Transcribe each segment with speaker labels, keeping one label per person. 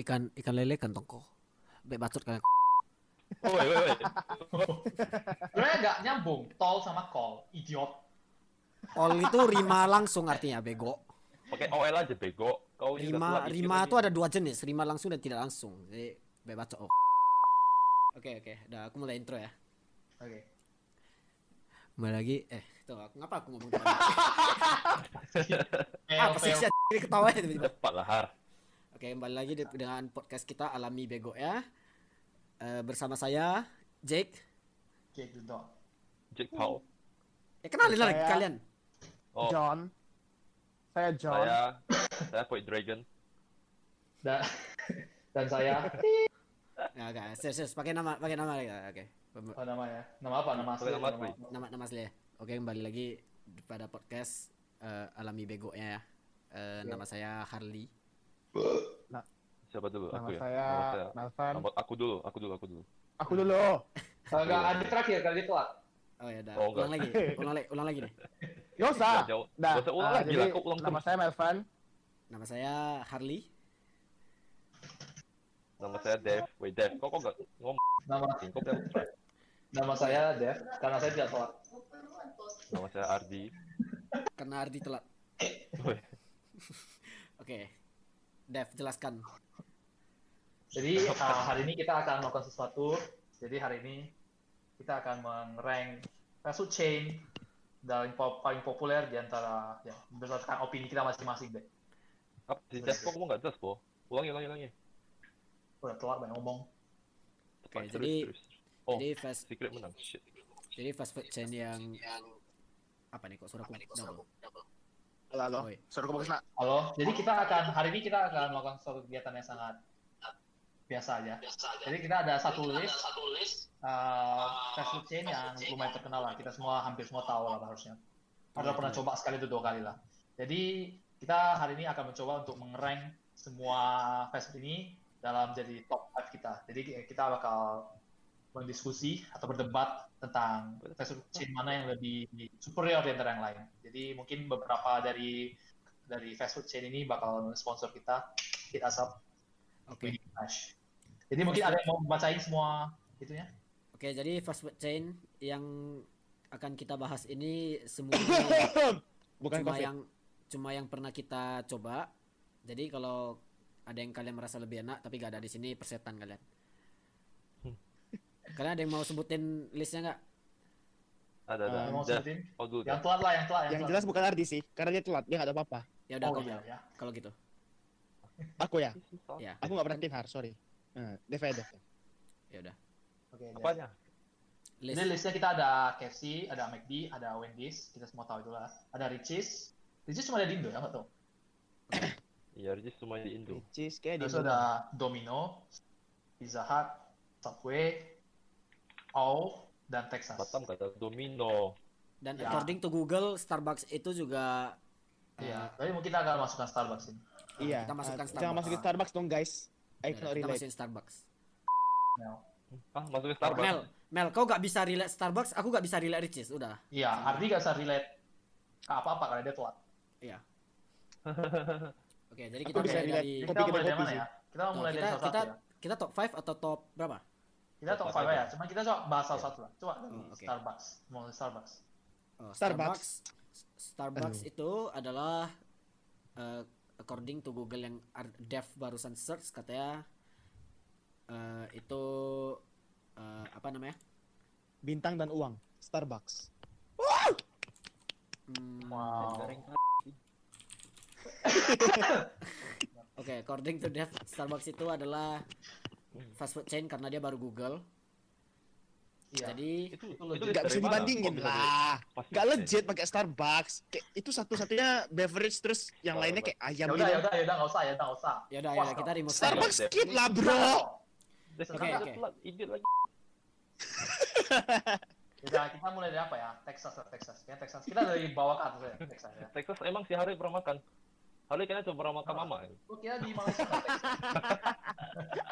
Speaker 1: ikan ikan lele kantong kok. Bek bacot kan.
Speaker 2: Woi, woi, woi.
Speaker 3: Sebenarnya nggak nyambung. Tol sama call. Idiot.
Speaker 1: All itu rima langsung artinya bego.
Speaker 2: Pakai OL aja bego. Kau Oh, ini
Speaker 1: Rima
Speaker 2: udah tua dikit
Speaker 1: rima
Speaker 2: lagi.
Speaker 1: itu ada dua jenis, rima langsung dan tidak langsung. Jadi bek bacot. oh. Oke oke, udah aku mulai intro ya.
Speaker 3: Oke.
Speaker 1: Mulai lagi eh tuh aku ngapa aku ngomong gitu?
Speaker 3: Fail,
Speaker 1: apa sih
Speaker 3: fail.
Speaker 1: sih ketawa ya tiba-tiba.
Speaker 2: Cepat lah har.
Speaker 1: Oke, kembali lagi de- dengan podcast kita Alami Bego ya. Eh, bersama saya Jake.
Speaker 3: Kayak gitu dong.
Speaker 2: Jake Paul.
Speaker 1: Eh kenalin lah
Speaker 4: Saya-
Speaker 1: kalian.
Speaker 2: Oh,
Speaker 4: John. Saya John.
Speaker 2: saya saya Point Dragon.
Speaker 3: Dan, dan saya,
Speaker 1: Nah, oke, serius, serius, pakai nama, pakai nama ya. Oke. Pem-
Speaker 3: apa namanya? Nama apa? Nama asli.
Speaker 2: Nama asli.
Speaker 1: Nama nama asli ya. Oke, kembali lagi pada podcast eh, Alami Bego ya. Eh, nama saya Harley.
Speaker 2: Siapa dulu?
Speaker 4: Nama
Speaker 2: aku ya.
Speaker 4: saya
Speaker 2: Nama saya.
Speaker 4: Nathan.
Speaker 2: Nama aku dulu, aku dulu, aku dulu.
Speaker 4: Aku dulu.
Speaker 3: Kalau nggak ada terakhir kali itu lah.
Speaker 1: Oh ya, udah.
Speaker 2: Oh,
Speaker 1: ulang lagi.
Speaker 2: enggak.
Speaker 1: Ulang lagi, ulang lagi nih.
Speaker 4: Yosa.
Speaker 2: Nggak jauh.
Speaker 4: Dah.
Speaker 2: Nggak usah ulang
Speaker 4: ah,
Speaker 2: lagi
Speaker 4: jadi
Speaker 2: lah, kau ulang
Speaker 4: Nama
Speaker 2: terus.
Speaker 4: saya Melvan.
Speaker 1: Nama saya Harley.
Speaker 2: Nama saya Dev. Wait, Dev, kok kok enggak ngomong?
Speaker 3: Nama
Speaker 2: Kok belum try.
Speaker 3: nama saya Dev, karena saya tidak sholat.
Speaker 2: Nama saya Ardi.
Speaker 1: Karena Ardi telat.
Speaker 2: Woi,
Speaker 1: Oke. Dev, jelaskan.
Speaker 3: Jadi uh, hari ini kita akan melakukan sesuatu. Jadi hari ini kita akan meng-rank masuk chain dan po- paling populer di antara ya berdasarkan opini kita masing-masing deh.
Speaker 2: Apa sih Dev? Kok ngomong enggak jelas, Bo? Ulangi, ulangi, ulangi.
Speaker 3: Udah telat banyak ngomong.
Speaker 2: Cepat,
Speaker 1: Oke,
Speaker 2: terus,
Speaker 1: jadi-
Speaker 2: terus. Oh,
Speaker 1: Jadi fast
Speaker 2: secret menang. Shit.
Speaker 1: Jadi fast food chain yang apa nih kok suara aku double.
Speaker 4: Halo, halo.
Speaker 1: Oi.
Speaker 4: Suruh ke sana.
Speaker 3: Halo. Jadi kita akan hari ini kita akan melakukan suatu kegiatan yang sangat biasa aja. Jadi kita ada satu list, uh, fast food chain yang lumayan terkenal lah. Kita semua hampir semua tahu lah harusnya. Ada pernah coba sekali itu dua kali lah. Jadi kita hari ini akan mencoba untuk mengerank semua fast food ini dalam jadi top 5 kita. Jadi eh, kita bakal mendiskusi atau berdebat tentang fast food chain mana yang lebih superior di antara yang lain. Jadi mungkin beberapa dari dari fast food chain ini bakal sponsor kita Hit Us Up
Speaker 1: Oke.
Speaker 3: Widi Flash. Jadi mungkin ada yang mau bacain semua itunya?
Speaker 1: Oke, jadi fast food chain yang akan kita bahas ini semua
Speaker 4: Bukan
Speaker 1: cuma
Speaker 4: COVID.
Speaker 1: yang cuma yang pernah kita coba. Jadi kalau ada yang kalian merasa lebih enak tapi gak ada di sini persetan kalian.
Speaker 4: Hmm.
Speaker 1: Kalian ada yang mau sebutin listnya nggak?
Speaker 2: Ada, ada.
Speaker 4: Ah,
Speaker 3: Yang mau
Speaker 2: Dev,
Speaker 3: sebutin?
Speaker 2: kau dulu.
Speaker 3: Yang telat lah, yang telat,
Speaker 4: Yang
Speaker 3: telat.
Speaker 4: jelas bukan Ardi sih, karena dia telat, dia nggak ada apa-apa.
Speaker 1: Ya udah
Speaker 3: Oh
Speaker 1: kalau,
Speaker 3: iya, ya.
Speaker 1: kalau gitu.
Speaker 4: Aku ya,
Speaker 1: Ya,
Speaker 4: aku nggak pernah tim har, sorry. Nah, Dev aja, Dev.
Speaker 1: ya udah.
Speaker 3: Oke. ya.
Speaker 2: Apanya?
Speaker 1: List.
Speaker 3: Jadi listnya kita ada KFC, ada McD, ada Wendy's, kita semua tahu itulah. Ada Ricis. Ricis cuma ada di Indo ya, nggak tahu.
Speaker 2: Iya, Regis cuma di Indo.
Speaker 4: Cheese kayak di
Speaker 3: Terus ada Domino, Pizza Hut, Subway, Au, dan
Speaker 4: Ya.
Speaker 3: Texas.
Speaker 2: Batam kata Domino.
Speaker 1: Dan
Speaker 3: Ya.
Speaker 1: according to Google, Starbucks itu juga eh,
Speaker 3: Iya. Tapi mungkin kita akan masukkan Starbucks ini.
Speaker 4: Iya.
Speaker 1: Kita masukkan
Speaker 4: ah, Jangan
Speaker 1: Starbucks.
Speaker 4: masukin Starbucks dong, guys. I
Speaker 1: ya udah,
Speaker 4: cannot
Speaker 1: kita
Speaker 4: relate.
Speaker 1: masukin Starbucks.
Speaker 2: Ah, masuk ke Starbucks.
Speaker 1: Mel, Mel, kau gak bisa relate Starbucks, aku gak bisa relate Ricis, udah.
Speaker 3: Iya, Ardi nggak usah relate ke apa-apa karena dia telat.
Speaker 1: Oke, jadi kita
Speaker 4: Aku bisa
Speaker 1: mulai
Speaker 4: relate.
Speaker 1: dari
Speaker 4: Kopi
Speaker 3: Kita
Speaker 4: kita
Speaker 3: mulai dari
Speaker 4: kopi
Speaker 3: mana
Speaker 4: sih.
Speaker 3: ya? Kita mulai dari
Speaker 1: kita
Speaker 3: salah satu
Speaker 1: kita
Speaker 3: ya.
Speaker 1: kita top 5 atau top berapa?
Speaker 3: Kita
Speaker 2: Top
Speaker 3: top
Speaker 2: five
Speaker 3: 5
Speaker 2: aja.
Speaker 3: ya, cuma kita coba bahas salah satu lah. Coba dari
Speaker 1: Oh, oke.
Speaker 3: Starbucks, mau dari Starbucks.
Speaker 1: Oh,
Speaker 4: Starbucks.
Speaker 1: Starbucks, Starbucks itu adalah eh, according to Google yang Ar- Dev barusan search katanya eh, itu eh, apa namanya?
Speaker 4: Bintang dan uang. Starbucks.
Speaker 1: Hmm,
Speaker 3: Wow.
Speaker 1: Oke, according to Dev, Starbucks itu adalah fast food chain karena dia baru Google.
Speaker 3: Iya.
Speaker 1: Jadi
Speaker 2: Itu itu
Speaker 4: Nggak bisa dibandingin lah. Gak legit pakai Starbucks. Kayak itu satu-satunya beverage terus yang lainnya kayak
Speaker 3: Ya
Speaker 4: ayam gitu.
Speaker 3: udah, ya udah, ya udah, nggak usah, ya udah, nggak usah.
Speaker 1: ya udah
Speaker 3: Wah,
Speaker 1: ya kita remove Starbucks.
Speaker 4: Starbucks skip lah bro.
Speaker 2: Oke,
Speaker 1: Oke, oke.
Speaker 2: Idiot lagi.
Speaker 3: Kita kita mulai dari apa ya? Texas lah, Texas. Ya Texas. Kita dari bawah ke atas ya, Texas ya.
Speaker 2: Texas emang si Hari pernah makan. Hari kayaknya cuma pernah
Speaker 4: Ah.
Speaker 2: makan mama. ya?
Speaker 3: Gua kira di Malaysia nggak Texas.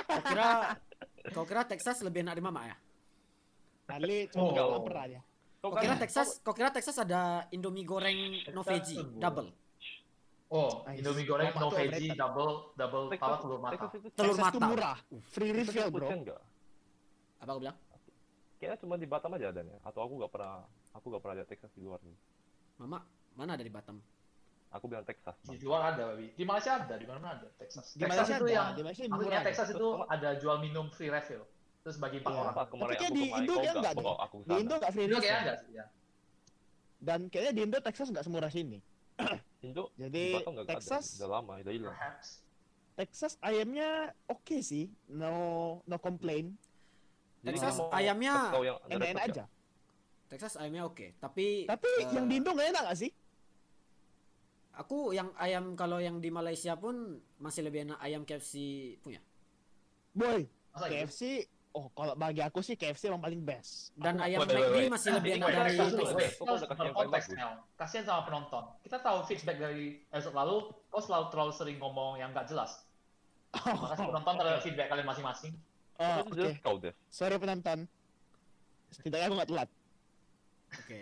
Speaker 1: Kau kira kau kira Texas lebih enak di mama ya?
Speaker 4: Kali
Speaker 3: Oh.
Speaker 4: cuma nggak lapar aja.
Speaker 2: Kau
Speaker 1: Kau kira Texas, kau kira Texas ada Indomie goreng no
Speaker 3: Texas
Speaker 1: veggie
Speaker 3: tuh, Bu.
Speaker 1: double.
Speaker 3: Oh,
Speaker 4: Nice.
Speaker 3: Indomie goreng
Speaker 4: Tomat
Speaker 3: no
Speaker 4: tuh
Speaker 3: veggie
Speaker 4: overrated.
Speaker 3: double double
Speaker 2: Texas-
Speaker 3: pala telur matang.
Speaker 2: Texas itu
Speaker 1: Telur
Speaker 4: Texas tuh
Speaker 1: mata.
Speaker 4: murah. Free
Speaker 2: Texas itu
Speaker 4: refill, ya, bro.
Speaker 2: Christian nggak?
Speaker 1: Apa aku bilang?
Speaker 2: Kayaknya cuma di Batam aja adanya. Atau aku nggak pernah aku nggak pernah lihat Texas di luar nih.
Speaker 1: Mama, mana dari Batam?
Speaker 2: Aku bilang Texas.
Speaker 3: Di luar ada, Babi. Di Malaysia ada, di mana-mana ada. Texas.
Speaker 4: Di Malaysia
Speaker 3: itu
Speaker 4: ada,
Speaker 3: yang
Speaker 4: di Malaysia
Speaker 3: aku
Speaker 4: murah.
Speaker 3: punya Texas itu ada jual minum free refill. Terus bagi empat
Speaker 4: Iya.
Speaker 3: orang.
Speaker 2: Apa kemarin
Speaker 4: kayak
Speaker 2: aku
Speaker 4: di
Speaker 2: kemarin
Speaker 4: Indo
Speaker 2: kau
Speaker 4: dia nggak
Speaker 2: kau- aku
Speaker 4: Di
Speaker 2: kesana.
Speaker 4: Indo nggak free
Speaker 3: Itu
Speaker 4: refill.
Speaker 3: kayaknya ada sih, ya.
Speaker 4: Dan kayaknya di Indo Texas nggak semurah sini.
Speaker 2: Indo
Speaker 4: Jadi,
Speaker 2: di Batam nggak ada.
Speaker 4: Texas-
Speaker 2: udah lama udah
Speaker 4: Iya.
Speaker 2: hilang.
Speaker 3: Perhaps.
Speaker 4: Texas ayamnya oke sih, no no complain,
Speaker 2: Jadi
Speaker 1: Texas
Speaker 2: kamu-
Speaker 1: ayamnya
Speaker 2: kau yang ada
Speaker 4: enak-enak
Speaker 2: resep ya?
Speaker 4: aja.
Speaker 1: Texas ayamnya oke, tapi
Speaker 4: Tapi
Speaker 1: eh,
Speaker 4: yang di Indo nggak enak nggak sih?
Speaker 1: aku yang ayam kalau yang di Malaysia pun masih lebih enak ayam KFC punya.
Speaker 4: Boy,
Speaker 3: Masa gitu?
Speaker 4: KFC, oh kalau bagi aku sih KFC yang paling best.
Speaker 1: Dan ayam
Speaker 2: wait, wait,
Speaker 1: McD
Speaker 2: wait.
Speaker 1: masih lebih
Speaker 3: Ini
Speaker 1: enak
Speaker 3: kita
Speaker 1: dari
Speaker 3: harus-
Speaker 2: dulu,
Speaker 1: Texas.
Speaker 2: wait.
Speaker 3: kita harus
Speaker 2: Kau udah kasih yang
Speaker 3: berkonteks,
Speaker 2: bagus.
Speaker 3: Mel. Kasihan sama penonton. Kita tahu feedback dari episode lalu, kau selalu terlalu sering ngomong yang nggak jelas. Makasih penonton terhadap feedback kalian masing-masing.
Speaker 4: Oh,
Speaker 2: Itu
Speaker 4: oke.
Speaker 2: jelas kau deh.
Speaker 4: Sorry penonton. Setidaknya aku nggak telat.
Speaker 1: Oke,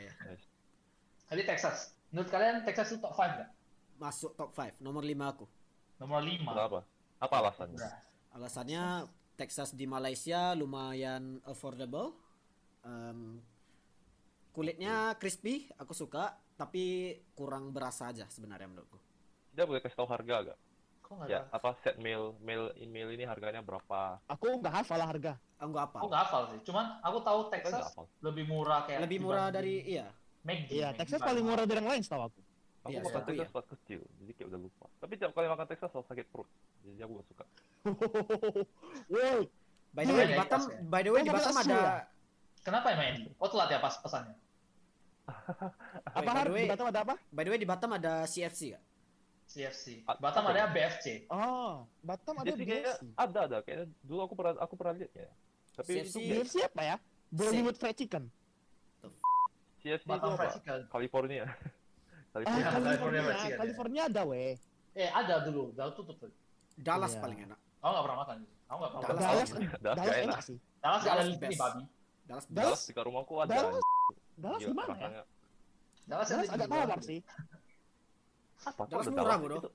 Speaker 3: Jadi Texas. Menurut kalian Texas itu top 5 nggak?
Speaker 1: masuk top 5, nomor 5 aku.
Speaker 3: Nomor 5.
Speaker 2: Kenapa? Apa alasannya?
Speaker 1: Alasannya Texas di Malaysia lumayan affordable. Em,
Speaker 2: Hmm.
Speaker 1: kulitnya crispy, aku suka, tapi kurang berasa aja sebenarnya menurutku.
Speaker 2: Dia boleh kasih tahu harga nggak?
Speaker 3: Kok nggak
Speaker 2: Ya,
Speaker 3: ada?
Speaker 2: apa set meal meal meal ini harganya berapa? Kan
Speaker 4: Aku nggak hafal lah harga.
Speaker 1: Enggak Eh, apa.
Speaker 2: Oh,
Speaker 3: Aku nggak hafal sih. Cuman aku tahu
Speaker 2: Kita nggak
Speaker 3: Texas
Speaker 2: hafal.
Speaker 3: lebih murah kayak
Speaker 1: Lebih murah dari iya.
Speaker 3: McD.
Speaker 4: Iya,
Speaker 3: McD
Speaker 4: Texas
Speaker 3: paling
Speaker 4: paling murah dari yang lain setahu aku.
Speaker 2: Aku
Speaker 1: Iya,
Speaker 2: makan
Speaker 1: setahu
Speaker 2: Texas
Speaker 1: ya.
Speaker 2: pas kecil, jadi kayak udah lupa. Tapi tiap kali makan Texas selalu sakit perut. Jadi aku gak suka.
Speaker 4: Wow,
Speaker 1: By the way,
Speaker 3: Iya,
Speaker 1: di
Speaker 3: iya,
Speaker 1: Batam,
Speaker 2: ya?
Speaker 3: iya.
Speaker 1: by the way
Speaker 4: Oh,
Speaker 1: di
Speaker 4: kamu
Speaker 1: Batam
Speaker 4: langsung
Speaker 1: ada
Speaker 4: ya?
Speaker 3: Kenapa ya McD? Oh telat ya pas pesannya.
Speaker 4: apa
Speaker 1: by the
Speaker 4: har?
Speaker 1: way-
Speaker 4: Di Batam ada apa?
Speaker 1: by the way di Batam ada CFC gak?
Speaker 3: CFC.
Speaker 2: A-
Speaker 3: Batam
Speaker 2: Ah, apa
Speaker 3: ada BFC.
Speaker 4: Oh, Batam ada
Speaker 2: Jadi kayaknya
Speaker 4: BFC.
Speaker 2: ada ada kayaknya dulu aku pernah aku pernah lihat ya. Tapi
Speaker 1: CFC.
Speaker 2: itu
Speaker 3: Iya.
Speaker 2: kayak-
Speaker 4: BFC apa ya? Bollywood Fried Chicken.
Speaker 2: CFC itu
Speaker 3: Batam
Speaker 2: apa?
Speaker 3: Fried Chicken.
Speaker 2: California. California.
Speaker 3: Iya,
Speaker 4: Ah,
Speaker 3: California
Speaker 4: California,
Speaker 3: Fried Chicken, ya.
Speaker 4: California ada weh.
Speaker 3: Eh ada dulu, udah tutup. tuh.
Speaker 1: Dallas
Speaker 4: Iya.
Speaker 1: paling enak.
Speaker 3: Aku nggak pernah makan. Aku nggak pernah.
Speaker 1: Dallas.
Speaker 3: makan.
Speaker 4: Dallas,
Speaker 2: Dallas
Speaker 4: Dallas
Speaker 2: gak
Speaker 4: enak
Speaker 2: enak.
Speaker 4: sih.
Speaker 3: Dallas nggak ada
Speaker 1: Dallas
Speaker 3: listrik
Speaker 1: best.
Speaker 3: babi.
Speaker 1: Dallas
Speaker 2: Dallas
Speaker 4: Dallas-
Speaker 2: di rumahku ada.
Speaker 4: Dallas,
Speaker 2: Gila,
Speaker 4: Dallas di mana ya?
Speaker 2: rasanya.
Speaker 3: Dallas ada
Speaker 4: Dallas
Speaker 3: di
Speaker 4: agak
Speaker 3: luar.
Speaker 4: tawar sih.
Speaker 2: Apa tuh
Speaker 1: Dallas
Speaker 2: ada
Speaker 1: murah, bodoh.
Speaker 2: Itu,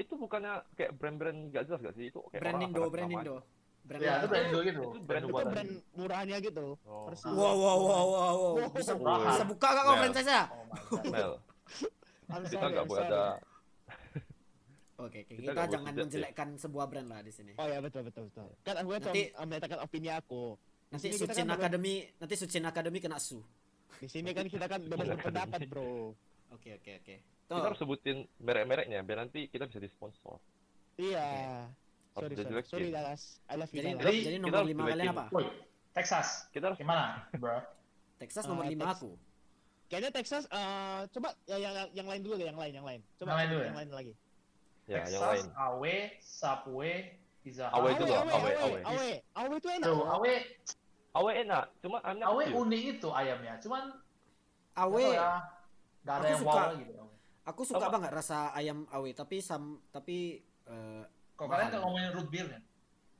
Speaker 2: itu bukannya kayak brand-brand gak jelas gak sih? Itu kayak
Speaker 1: branding do,
Speaker 2: orang
Speaker 1: branding do.
Speaker 2: sama aja.
Speaker 1: Brand
Speaker 3: Iya, itu brand
Speaker 2: Itu-
Speaker 3: dulu gitu.
Speaker 2: itu brand
Speaker 4: Itu
Speaker 2: Buat apa?
Speaker 4: brand murahnya gitu.
Speaker 2: Oh.
Speaker 4: Versi-
Speaker 1: Wow, wow, wow, wow, wow. Bisa,
Speaker 3: Wow.
Speaker 1: bisa buka gak kau
Speaker 2: Mel.
Speaker 1: franchise ya?
Speaker 3: Oh my god.
Speaker 2: Mel,
Speaker 4: I'm
Speaker 2: kita
Speaker 4: sorry,
Speaker 2: nggak
Speaker 4: I'm
Speaker 2: boleh
Speaker 4: sorry.
Speaker 2: ada.
Speaker 1: Oke, oke,
Speaker 2: Kita
Speaker 1: kita
Speaker 2: nggak boleh
Speaker 1: jangan
Speaker 2: judge ya.
Speaker 1: menjelekkan sebuah brand lah di sini.
Speaker 4: Oh ya betul betul betul. Kan aku cuma
Speaker 1: Nanti-
Speaker 4: menyatakan opini aku. Di
Speaker 1: Nanti
Speaker 4: sini kita
Speaker 1: Sucin
Speaker 4: kan bebas-
Speaker 1: Academy, nanti Sucin Academy kena su.
Speaker 4: Di sini kan kita kan bebas
Speaker 2: Sucin
Speaker 4: berpendapat,
Speaker 2: Academy.
Speaker 4: Bro.
Speaker 1: Oke, oke, oke.
Speaker 2: Kita
Speaker 1: Tuh,
Speaker 2: harus sebutin merek-mereknya biar nanti kita bisa disponsor.
Speaker 4: Iya.
Speaker 2: Harus
Speaker 4: Sorry, sorry.
Speaker 2: dijelekin.
Speaker 4: Sorry, Dallas. I love you,
Speaker 1: jadi,
Speaker 4: Dallas.
Speaker 1: jadi,
Speaker 2: kita
Speaker 1: nomor
Speaker 2: harus
Speaker 1: lima
Speaker 2: jelekin.
Speaker 1: kalian apa?
Speaker 3: Woi, Texas.
Speaker 2: Kita harus
Speaker 3: Gimana, bro?
Speaker 1: Texas
Speaker 4: Eh,
Speaker 1: nomor lima
Speaker 4: Texas.
Speaker 1: aku.
Speaker 4: Kayaknya Texas, eh coba ya, yang, yang, yang lain dulu deh, yang lain, yang lain. Coba
Speaker 3: Yang lain dulu
Speaker 4: yang
Speaker 3: ya?
Speaker 4: lain lagi.
Speaker 2: ya yang lain.
Speaker 3: Texas, Awe, Subway, Pizza
Speaker 2: Awe
Speaker 3: Hut.
Speaker 2: itu
Speaker 4: Awe,
Speaker 2: doang,
Speaker 4: awe,
Speaker 2: awe,
Speaker 4: awe,
Speaker 2: awe.
Speaker 4: awe. Awe itu enak.
Speaker 3: Tuh, Awe,
Speaker 2: Awe enak, cuma ayamnya
Speaker 3: Awe
Speaker 2: kecil.
Speaker 3: unik itu ayamnya. Cuman
Speaker 1: Awe,
Speaker 3: nggak tahu ya, nggak ada
Speaker 1: Aku
Speaker 3: yang
Speaker 1: suka.
Speaker 3: wow gitu.
Speaker 1: aku suka
Speaker 2: Apa?
Speaker 1: banget rasa ayam awe, tapi sam, tapi eh,
Speaker 3: Kok
Speaker 1: Mahal.
Speaker 3: kalian nggak ngomongin root beer kan?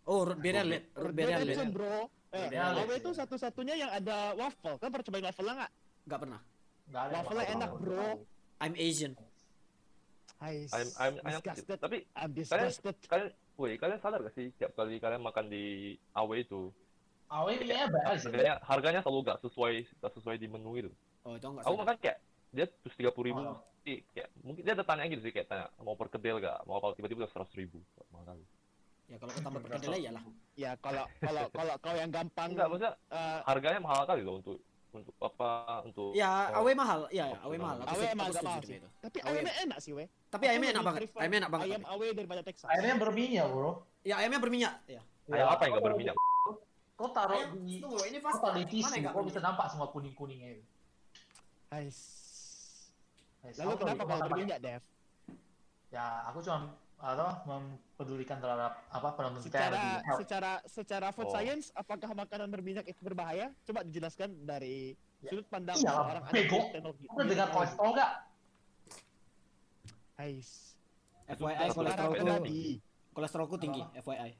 Speaker 1: oh root beer
Speaker 2: Root
Speaker 1: root root
Speaker 4: Bro,
Speaker 1: beer
Speaker 4: itu
Speaker 1: Gak
Speaker 4: kan, bro. Eh,
Speaker 1: Beda ya,
Speaker 4: awe
Speaker 3: beda.
Speaker 4: itu satu-satunya yang ada waffle. Kan pernah cobain waffle enggak?
Speaker 1: nggak pernah.
Speaker 3: Nggak ada. yang
Speaker 4: Waffle-nya
Speaker 3: mahal.
Speaker 4: enak, bro.
Speaker 1: I'm Asian.
Speaker 4: Hai.
Speaker 2: Ayam ayam ayam kecil.
Speaker 4: disgusted.
Speaker 2: Tapi
Speaker 4: I'm disgusted.
Speaker 2: kalian, woi kalian sadar gak sih tiap kali kalian makan di Awe itu
Speaker 3: Awe kayaknya banyak Ah, sih.
Speaker 2: harganya harganya selalu gak sesuai gak sesuai di menu itu.
Speaker 1: Oh, itu nggak
Speaker 2: Aku
Speaker 1: sadar.
Speaker 2: makan kayak dia terus tiga puluh ribu.
Speaker 3: Oh.
Speaker 2: Jadi kayak mungkin dia ada tanya gitu sih kayak tanya mau perkedel gak mau apa tiba-tiba udah seratus ribu mahal kali.
Speaker 1: Ya kalau ketambah perkedelai ya lah.
Speaker 4: Ya, kalau kalau kalau kau yang gampang
Speaker 2: Enggak maksudnya
Speaker 4: eh,
Speaker 2: harganya mahal kali loh untuk untuk apa untuk
Speaker 1: Ya,
Speaker 2: Oh.
Speaker 1: awe mahal. Ya, ya, awe
Speaker 2: Opsional.
Speaker 1: mahal. Aku
Speaker 4: Awe
Speaker 1: setuju-
Speaker 4: emang
Speaker 1: aku
Speaker 4: agak
Speaker 1: setuju
Speaker 4: mahal
Speaker 1: dengan
Speaker 4: sih.
Speaker 1: itu.
Speaker 4: Tapi
Speaker 1: Awe.
Speaker 4: awalnya enak sih, weh.
Speaker 1: Oh, iya. Tapi ayamnya enak banget. Ayamnya enak banget.
Speaker 4: Ayam
Speaker 1: tapi.
Speaker 4: awe daripada Texas.
Speaker 3: Ayamnya berminyak, bro.
Speaker 1: Ya, ayamnya berminyak. Ya.
Speaker 2: ayam apa yang gak berminyak?
Speaker 3: Oh. Kau taruh di
Speaker 1: Tunggu, ini
Speaker 3: kau taruh di
Speaker 1: Mana
Speaker 3: tisu,
Speaker 1: yang nggak
Speaker 3: kau bisa
Speaker 1: berminyak?
Speaker 3: nampak semua kuning kuningnya itu.
Speaker 4: Ais.
Speaker 3: Guys,
Speaker 4: Lalu
Speaker 3: aku
Speaker 4: kenapa
Speaker 3: tahu,
Speaker 4: kalau
Speaker 3: aku tahu.
Speaker 4: berminyak, Dev?
Speaker 3: Ya, aku cuma atau mempedulikan terhadap apa penonton kita yang
Speaker 4: Secara
Speaker 3: lebih health.
Speaker 4: secara secara food
Speaker 2: Oh.
Speaker 4: science, apakah makanan berminyak itu berbahaya? Coba dijelaskan dari
Speaker 3: Ya.
Speaker 4: sudut pandang
Speaker 3: Iya,
Speaker 4: seorang anak
Speaker 3: bego.
Speaker 4: teknologi.
Speaker 3: Kau dengar kolesterol nggak?
Speaker 4: Ais.
Speaker 1: FYI
Speaker 2: Satu
Speaker 4: Secara
Speaker 2: Kolesterolku-
Speaker 4: pribadi.
Speaker 1: kolesterolku kolesterolku tinggi FYI.